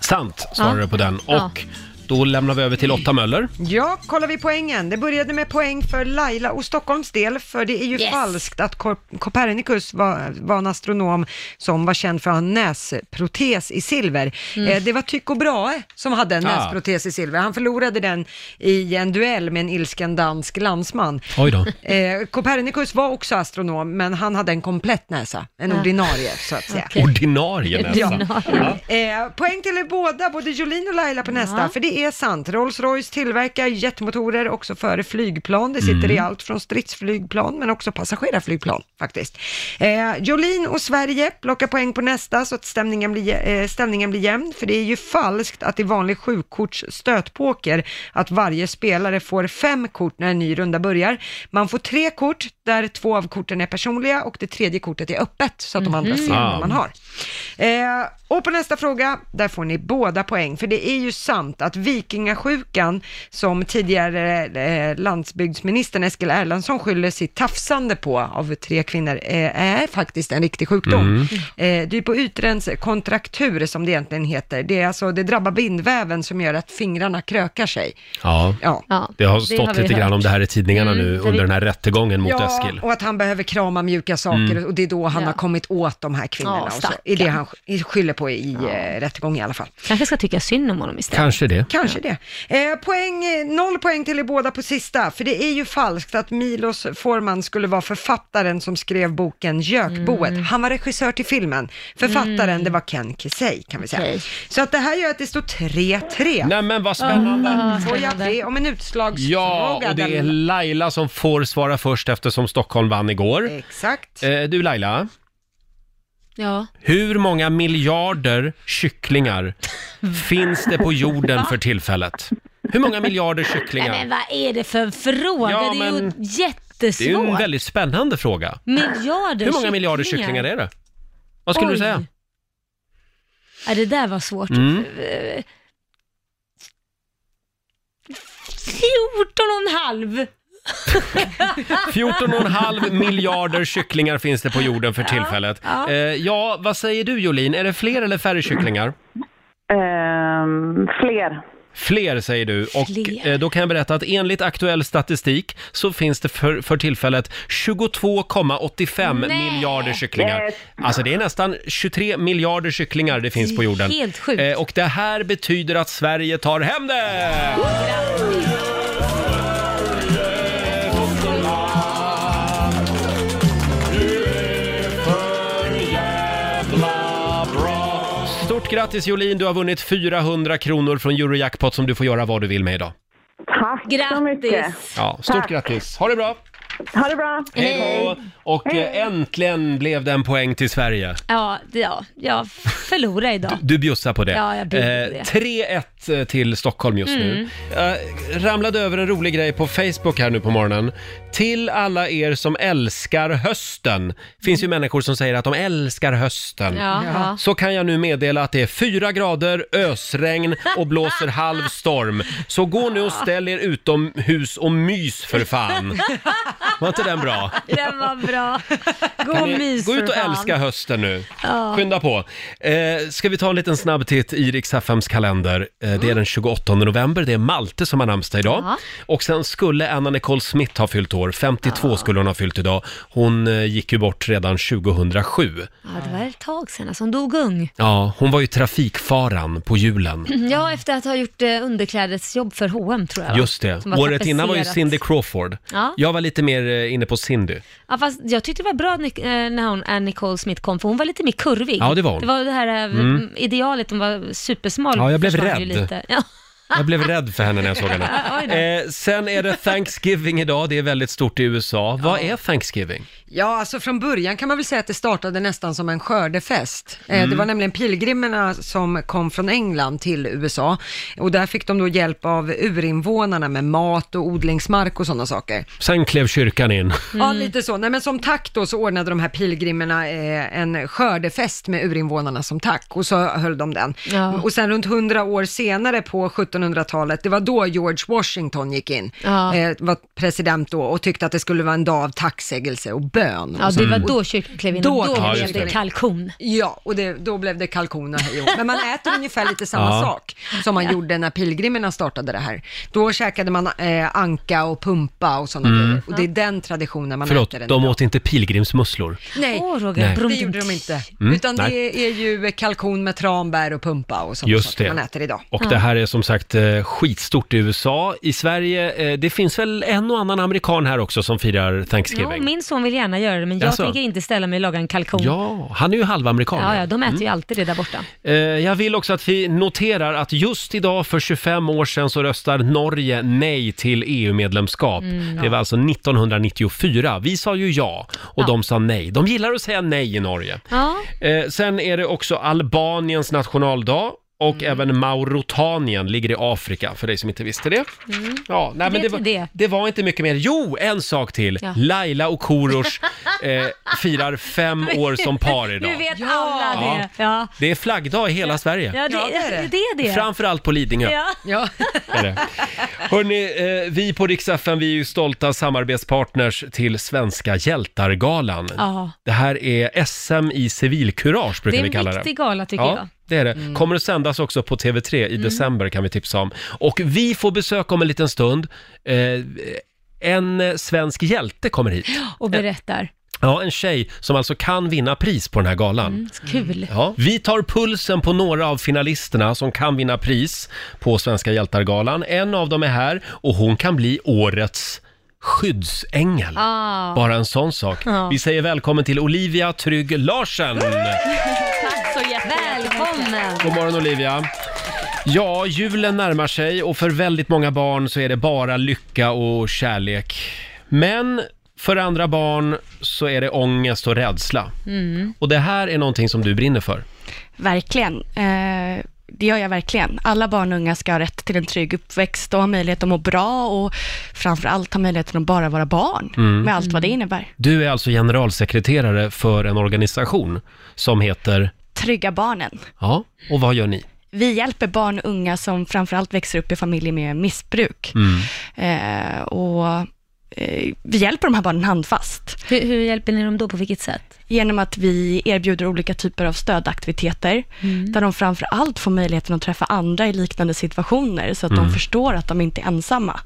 Sant svarar Ja. du på den. Ja. Och då lämnar vi över till Lotta Möller. Ja, kollar vi poängen. Det började med poäng för Laila och Stockholms del, för det är ju Yes. falskt att Cop- Copernicus var, var en astronom som var känd för att ha en näsprotes i silver. Eh, det var Tycho Brahe som hade en Ah. näsprotes i silver. Han förlorade den i en duell med en ilsken dansk landsman. Oj då. Eh, Copernicus var också astronom, men han hade en komplett näsa, en ordinarie så att säga. Ordinarie nästan. Ordinarie. Eh, poäng till er båda, både Jolin och Laila på nästa, för det är sant. Rolls-Royce tillverkar jetmotorer också före flygplan. Det sitter i allt från stridsflygplan men också passagerarflygplan faktiskt. Eh, Jolin och Sverige plockar poäng på nästa så att stämningen blir, eh, ställningen blir jämn, för det är ju falskt att i vanlig sjukorts stötpoker att varje spelare får fem kort när en ny runda börjar. Man får tre kort där två av korten är personliga och det tredje kortet är öppet så att de andra ser Ah. vad man har. Eh, och på nästa fråga, där får ni båda poäng, för det är ju sant att vikingasjukan, som tidigare eh, landsbygdsministern Eskil Erlandsson skyller sitt tafsande på av tre kvinnor, eh, är faktiskt en riktig sjukdom. Mm. Eh, det är på ytrens kontraktur som det egentligen heter. Det, är alltså, det drabbar bindväven som gör att fingrarna krökar sig. Ja. Ja. Ja, Det har det stått vi lite grann hört. om det här i tidningarna Mm, nu det under vi- den här rättegången mot ja, Eskil. Mm. och att han behöver krama mjuka saker och det är då han Ja. har kommit åt de här kvinnorna. Ja, och så. stackarn. Det är det han sk- skyller på i eh, rättegång i alla fall. Kanske ska tycka synd om honom istället. Kanske det. Kanske det. Eh, poäng, eh, noll poäng till er båda på sista, för det är ju falskt att Milos Forman skulle vara författaren som skrev boken Jökboet. Mm. Han var regissör till filmen. Författaren, det var Ken Kesey kan vi säga. Okej. Så att det här gör att det står 3-3. Nej men vad spännande! Får jag be om en utslagsfråga? Ja, och det är där- Laila som får svara först eftersom Stockholm vann igår. Exakt. Eh, du Laila, Ja. hur många miljarder kycklingar finns det på jorden för tillfället? Hur många miljarder Nej, men kycklingar? vad är det för fråga? Ja, det är ju men- jättesvårt. Det är ju en väldigt spännande fråga. Miljarder Hur många miljarder kycklingar är det? Vad skulle du Oj. säga? Ja, det där var svårt. Mm. Eh, 14 och en halv. 14,5 miljarder kycklingar finns det på jorden för tillfället. ja. Eh, ja, vad säger du Jolin? Är det fler eller färre kycklingar? Ehm, fler. Fler säger du och Fler. eh, då kan jag berätta att enligt aktuell statistik så finns det för, för tillfället 22,85 Nej. miljarder kycklingar. Yes. Alltså det är nästan 23 miljarder kycklingar det finns på jorden. Helt sjukt. Eh, och det här betyder att Sverige tar hem det! Stort grattis Jolin, du har vunnit 400 kronor från Eurojackpot som du får göra vad du vill med idag. Tack så mycket. Grattis. Ja, stort Tack. grattis. Ha det bra! Ha det bra. Hej då! Och eh, äntligen blev det en poäng till Sverige. Ja, det- ja, jag förlorade idag. Du bjussar på det. Ja, jag bjussar på Eh, det. 3-1 Mm. till Stockholm just nu. Jag ramlade över en rolig grej på Facebook här nu på morgonen. Till alla er som älskar hösten. finns ju människor som säger att de älskar hösten. Mm. Ja, ja. Så kan jag nu meddela att det är fyra grader, ösregn och blåser halv storm. Så gå nu och ställ er utomhus och mys för fan. Var inte den bra? Den var bra. Gå Kan och ni mys Gå ut för och fan. älska hösten nu. Skynda på. Eh, ska vi ta en liten snabb titt i Rix FMs kalender. Eh, det är den 28 november, det är Malte som har namnsdag idag. Mm. Ja. Och sen skulle Anna Nicole Smith ha fyllt år, 52 skulle hon ha fyllt idag. Hon eh, gick ju bort redan 2007. Ja, det var ett tag sedan alltså. Hon dog ung. Ja, hon var ju trafikfaran på julen. Ja, efter att ha gjort eh, underklädesjobb för H&M tror jag. va? Just det. Som har Året innan var ju tapetserat. Cindy Crawford. Ja. Jag var lite mer eh, inne på Cindy. Ja, fast jag tyckte det var bra Nic- eh, när hon, Ann Nicole Smith kom, för hon var lite mer kurvig. Ja, det var hon. Mm. Det var det här eh, idealet, hon var supersmal. Ja, jag blev försvann ju rädd. Lite. Ja. Jag blev rädd för henne när jag såg Ja, oj då. henne. Eh, sen är det Thanksgiving idag, det är väldigt stort i USA. Vad är Thanksgiving? Ja, alltså från början kan man väl säga att det startade nästan som en skördefest. Eh, Det var nämligen pilgrimerna som kom från England till USA och där fick de då hjälp av urinvånarna med mat och odlingsmark och sådana saker. Sen klev kyrkan in. Mm. Ja, lite så. Nej, men som tack då så ordnade de här pilgrimerna eh, en skördefest med urinvånarna som tack och så höll de den. Ja. Och sen runt 100 år senare på 1700-talet, det var då George Washington gick in, Ja. eh, var president då och tyckte att det skulle vara en dag av tacksägelse och bön. Ja, och så. det var då kyrkan klev in. och Då Då Ja, blev just det det. kalkon. Ja, och det, då blev det kalkon och hej och hå. Men man äter ungefär lite samma Ja. sak som man gjorde när pilgrimerna startade det här. Då käkade man eh, anka och pumpa och sådana grejer. Och det är den traditionen Mm. man Förlåt, äter. den de idag. åt inte pilgrimsmusslor. Nej, Åh, Roger. Nej. det brum, gjorde de inte. Mm, Utan det är ju kalkon med tranbär och pumpa och sådana Just saker det. man äter idag. Och det här är som sagt eh, skitstort i USA. I Sverige, eh, det finns väl en och annan amerikan här också som firar Ja, Thanksgiving? min son vill gärna göra det, men jag Jaså? tänker inte ställa mig och laga en kalkon. Ja, Mm. han är ju halvamerikan. Ja, ja, de äter ju alltid det där borta. Eh, Jag vill också att vi noterar att just idag för 25 år sedan så röstar Norge nej till EU-medlemskap. Mm, det var alltså 1994. Vi sa ju ja och de sa nej. De gillar att säga nej i Norge. Ja, Eh, sen är det också Albaniens nationaldag. Och Mm. även Maurotanien ligger i Afrika, för dig som inte visste det. Ja, nej, men det, vet var, vi det. det var inte mycket mer. Jo, en sak till. Ja. Laila och Korosh eh, firar fem år som par idag. nu vet alla Ja. det. Ja, Det är flaggdag i hela Sverige. ja, det, Ja, det är det. det är det. Framförallt på Lidingö. Ja. Ja. Är det. Hörrni, eh, vi på Rix FM, vi är ju stolta samarbetspartners till Svenska Hjältargalan. Ja. Det här är SM i civilkurage Det brukar är vi en kalla det. viktig gala tycker Ja, jag. Mm. det är det. Kommer att sändas också på TV3 i december kan vi tipsa om. Och vi får besök om en liten stund. Eh, en eh, svensk hjälte kommer hit. Och berättar. Ja, en tjej som alltså kan vinna pris på den här galan. Mm, Kul. Ja. Vi tar pulsen på några av finalisterna som kan vinna pris på Svenska Hjältargalan. En av dem är här och hon kan bli årets skyddsängel. Ah. Bara en sån sak. Ja. Vi säger välkommen till Olivia Trygg Larsen. Mm. Tack så jättemycket. Välkommen. God morgon Olivia. Ja, julen närmar sig och för väldigt många barn så är det bara lycka och kärlek. Men för andra barn så är det ångest och rädsla. Mm. Och det här är någonting som du brinner för. Verkligen. Eh, det gör jag verkligen. Alla barn och unga ska ha rätt till en trygg uppväxt och ha möjlighet att må bra och framför allt ha möjligheten att bara vara barn med allt vad det Mm. innebär. Du är alltså generalsekreterare för en organisation som heter... Trygga barnen. Ja, och vad gör ni? Vi hjälper barn och unga som framför allt växer upp i familjer med missbruk. Eh, och eh, vi hjälper de här barnen handfast. Hur, hur hjälper ni dem då? På vilket sätt? genom att vi erbjuder olika typer av stödaktiviteter, Mm. där de framför allt får möjligheten att träffa andra i liknande situationer, så att Mm. de förstår att de inte är ensamma,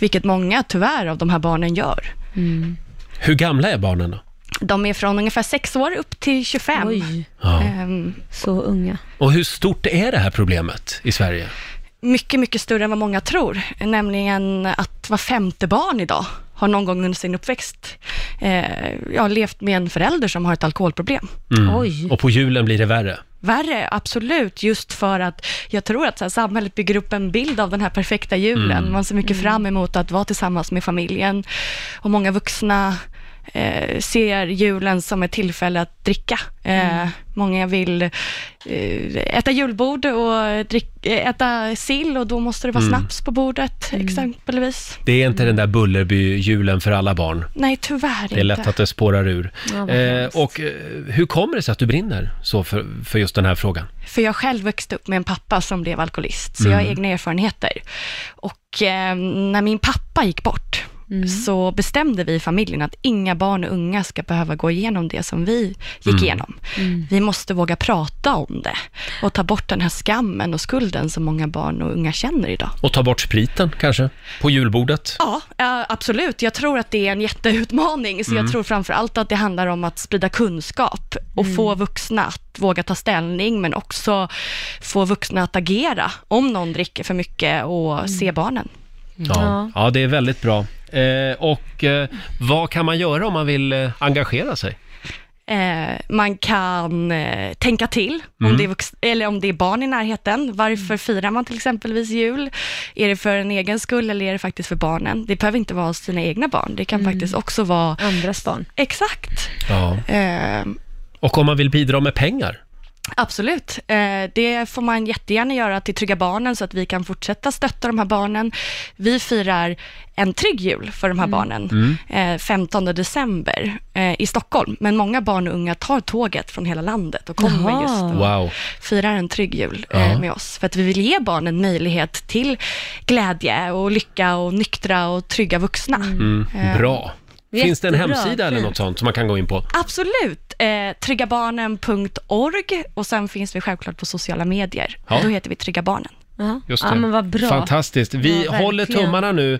vilket många tyvärr av de här barnen gör. Mm. Hur gamla är barnen då? De är från ungefär 6 år upp till 25. Oj, Ja. Ehm, så unga. Och hur stort är det här problemet i Sverige? Mycket, mycket större än vad många tror, nämligen att var femte barn idag har någon gång under sin uppväxt eh, ja, levt med en förälder som har ett alkoholproblem. Oj. Mm. Och på julen blir det värre. värre, absolut, just för att jag tror att så här, samhället bygger upp en bild av den här perfekta julen. Mm. Man ser mycket fram emot att vara tillsammans med familjen och många vuxna eh, ser julen som ett tillfälle att dricka. Eh, Mm. Många vill eh, äta julbord och drick, eh, äta sill och då måste det vara Mm. snaps på bordet exempelvis. Det är Mm. inte den där Bullerby-julen för alla barn. Nej, tyvärr Det är lätt inte. att det spårar ur. Ja, vad eh, hemskt. och eh, hur kommer det sig att du brinner så för, för just den här frågan? För jag själv växte upp med en pappa som blev alkoholist, så jag har egna erfarenheter. Och eh, när min pappa gick bort, så bestämde vi i familjen att inga barn och unga ska behöva gå igenom det som vi gick igenom. Vi måste våga prata om det och ta bort den här skammen och skulden som många barn och unga känner idag. Och ta bort spriten kanske? På julbordet? Ja, eh, absolut. Jag tror att det är en jätteutmaning, så jag tror framför allt att det handlar om att sprida kunskap och Mm. få vuxna att våga ta ställning, men också få vuxna att agera om någon dricker för mycket och Mm. se barnen. Ja. ja, det är väldigt bra. Eh, och eh, vad kan man göra om man vill eh, engagera sig? Eh, man kan eh, tänka till Mm. om, det är vux- eller om det är barn i närheten. Mm. Varför firar man till exempelvis jul? Är det för en egen skull eller är det faktiskt för barnen? Det behöver inte vara sina egna barn. Det kan faktiskt också vara... Mm. Andras barn. Exakt. Ja. Eh, Och om man vill bidra med pengar? Absolut. Eh, Det får man jättegärna göra till Trygga Barnen så att vi kan fortsätta stötta de här barnen. Vi firar en trygg jul för de här barnen Mm. eh, 15 december eh, i Stockholm. Men många barn och unga tar tåget från hela landet och kommer Jaha. just och Wow. firar en trygg jul Ja. eh, med oss. För att vi vill ge barnen möjlighet till glädje och lycka och nyktra och trygga vuxna. Mm. Eh, Bra. Finns det en Jättebra, hemsida eller fint. något sånt som man kan gå in på? Absolut. Eh, tryggabarnen.org och sen finns vi självklart på sociala medier. Ja. Då heter vi Trygga Barnen. Just det. Fantastiskt. Vi Ja, håller verkligen. tummarna nu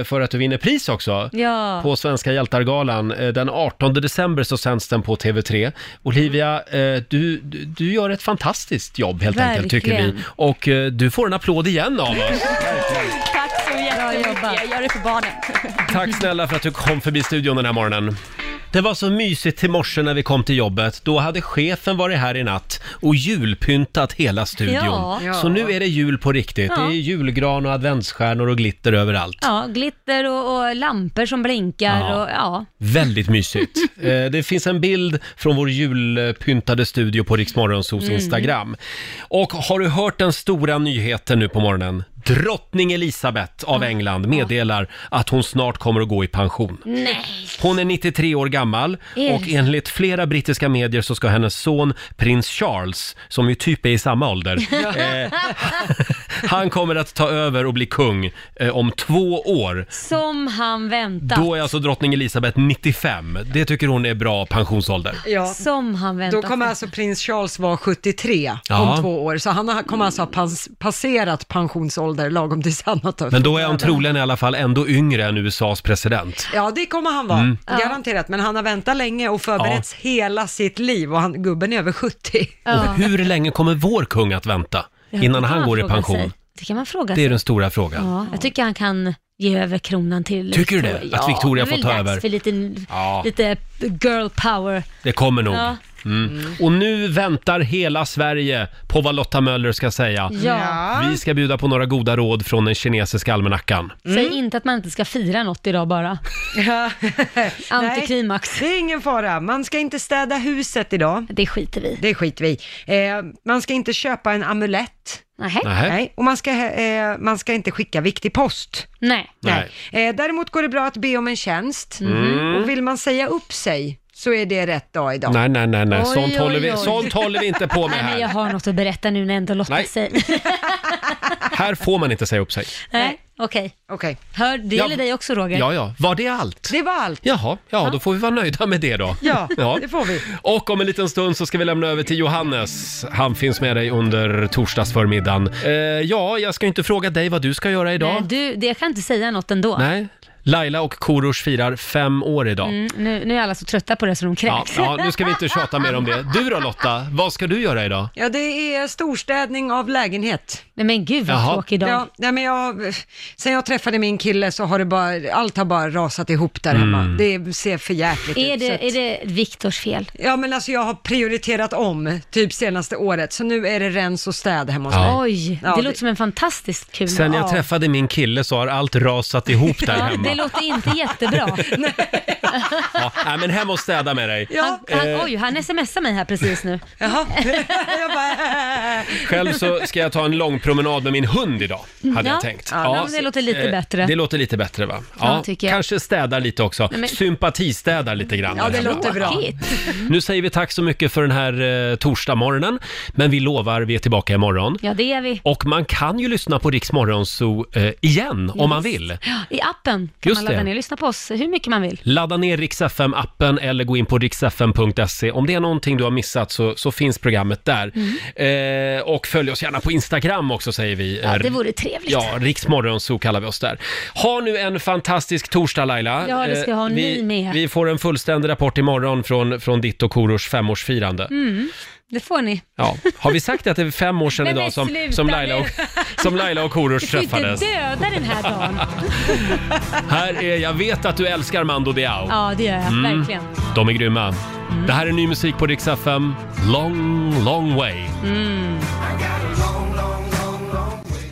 eh, för att du vinner pris också. Ja. På Svenska Hjältargalan. Eh, Den 18 december så sänds den på TV3. Olivia, eh, du, du, du gör ett fantastiskt jobb helt enkelt tycker vi. Verkligen. Och eh, du får en applåd igen av oss. Tack så jättemycket. Gör det för barnen. Tack snälla för att du kom förbi studion den här morgonen. Det var så mysigt till morse när vi kom till jobbet. Då hade chefen varit här i natt och julpyntat hela studion. Ja. Så nu är det jul på riktigt. Ja. Det är julgran och adventsstjärnor och glitter överallt. Ja, glitter och, och lampor som blinkar Ja. och ja. Väldigt mysigt. Eh, Det finns en bild från vår julpyntade studio på Riksmorgonsos Mm. Instagram. Och har du hört den stora nyheten nu på morgonen? Drottning Elisabeth av England meddelar att hon snart kommer att gå i pension. Nej. Hon är 93 år gammal Är och det? enligt flera brittiska medier så ska hennes son prins Charles, som ju typ är i samma ålder, eh, han kommer att ta över och bli kung eh, om två år. Som han väntat. Då är alltså drottning Elisabeth 95. Det tycker hon är bra pensionsålder. Som han väntat. Då kommer alltså prins Charles vara 73 Ja. om två år, så han har- kommer alltså ha pas- passerat pensionsålder lagom tills han har tagit Men då är han över. troligen i alla fall ändå yngre än USAs president. Ja, det kommer han vara, Mm. garanterat. Men han har väntat länge och förberetts hela sitt liv och han, gubben är över 70. Och hur länge kommer vår kung att vänta Ja, innan det kan han man går i fråga pension? sig. Det kan man fråga Det sig. är den stora frågan. Ja, jag tycker han kan ge över kronan till Tycker du det? Victoria. Att Victoria får ta Det är väl över? dags för lite, Ja. lite girl power. Det kommer nog. Ja. Mm. Och nu väntar hela Sverige på vad Lotta Möller ska säga. Ja. Vi ska bjuda på några goda råd från den kinesiska almanackan. Mm. Säg inte att man inte ska fira något idag bara. Antiklimax. Nej, det är ingen fara. Man ska inte städa huset idag. Det skiter vi Det skiter vi i. eh, Man ska inte köpa en amulett. Nej. Nej. Och man ska, eh, man ska inte skicka viktig post. Nej. Nej. Eh, däremot går det bra att be om en tjänst. Mhm. Och vill man säga upp sig så är det rätt dag idag. Nej, nej, nej, nej. Oj, Sånt, oj, håller vi, oj. sånt håller vi inte på med Nej, men här. jag har något att berätta nu när ändå Lotta Nej. säger. Här får man inte säga upp sig. Nej, okej. Okej. Hör det Ja. gäller dig också Roger. Ja, ja. Var det allt? Det var allt. Jaha, ja, då får vi vara nöjda med det då. Ja, det får vi. Och om en liten stund så ska vi lämna över till Johannes. Han finns med dig under torsdagsförmiddagen. Eh, ja, jag ska ju inte fråga dig vad du ska göra Nej, idag. du, det, jag kan inte säga något ändå. Nej. Laila och Korosh firar fem år idag. Mm, nu, nu är alla så trötta på det så de Ja, kräks. ja, nu ska vi inte tjata mer om det. Du då Lotta, vad ska du göra idag? Ja, det är storstädning av lägenhet. Nej men gud vad Jaha. tråkig dag. Ja, nej, men jag, sen jag träffade min kille så har det bara, allt har bara rasat ihop där Mm. hemma. Det ser för jäkligt Är ut. så att- det, är det Viktors fel? Ja men alltså jag har prioriterat om typ senaste året, så nu är det rens och städ hemma hos Ja. mig. Oj, Ja, det låter som en fantastiskt kul Sen jag träffade min kille så har allt rasat ihop där ja, hemma. Det låter inte jättebra. Ja, nej, men hem och städa med dig. Han, han, Eh, oj, han smsar mig här precis nu. Jaha. Jag bara, Själv så ska jag ta en lång promenad med min hund idag, hade Mm. Ja. jag tänkt. Ja, men det låter lite eh, bättre. Det låter lite bättre va? Ja, tycker jag. Kanske städar lite också. Nej, men- Sympatistädar lite grann. Ja, där det hemma. låter bra. Nu säger vi tack så mycket för den här eh, torsdagsmorgonen, men vi lovar, vi är tillbaka imorgon. Ja, det är vi. Och man kan ju lyssna på Rix Morgonzoo eh, igen om man vill. Ja, I appen kan Just man ladda det. ner och lyssna på oss hur mycket man vill. Ladda ner Rix FM-appen eller gå in på rixfm.se. Om det är någonting du har missat så, så finns programmet där. Mm. Eh, och följ oss gärna på Instagram också säger vi. Eh, Ja, det vore trevligt. Ja, Riksmorgonzoo kallar vi oss där. Ha nu en fantastisk torsdag Laila. Ja, det ska Eh, ha vi, ni med. Vi får en fullständig rapport imorgon från, från ditt och Korosh femårsfirande. Mm, det får ni. Ja, har vi sagt att det är fem år sedan Nej, men idag som, sluta som Laila nu. och, som Laila och Korosh Du får ju inte träffades? döda den här dagen. Här är Jag vet att du älskar Mando Diao. Ja, det gör jag. Mm. Verkligen. De är grymma. Mm. Det här är ny musik på Rix FM. Long, long way. Mm.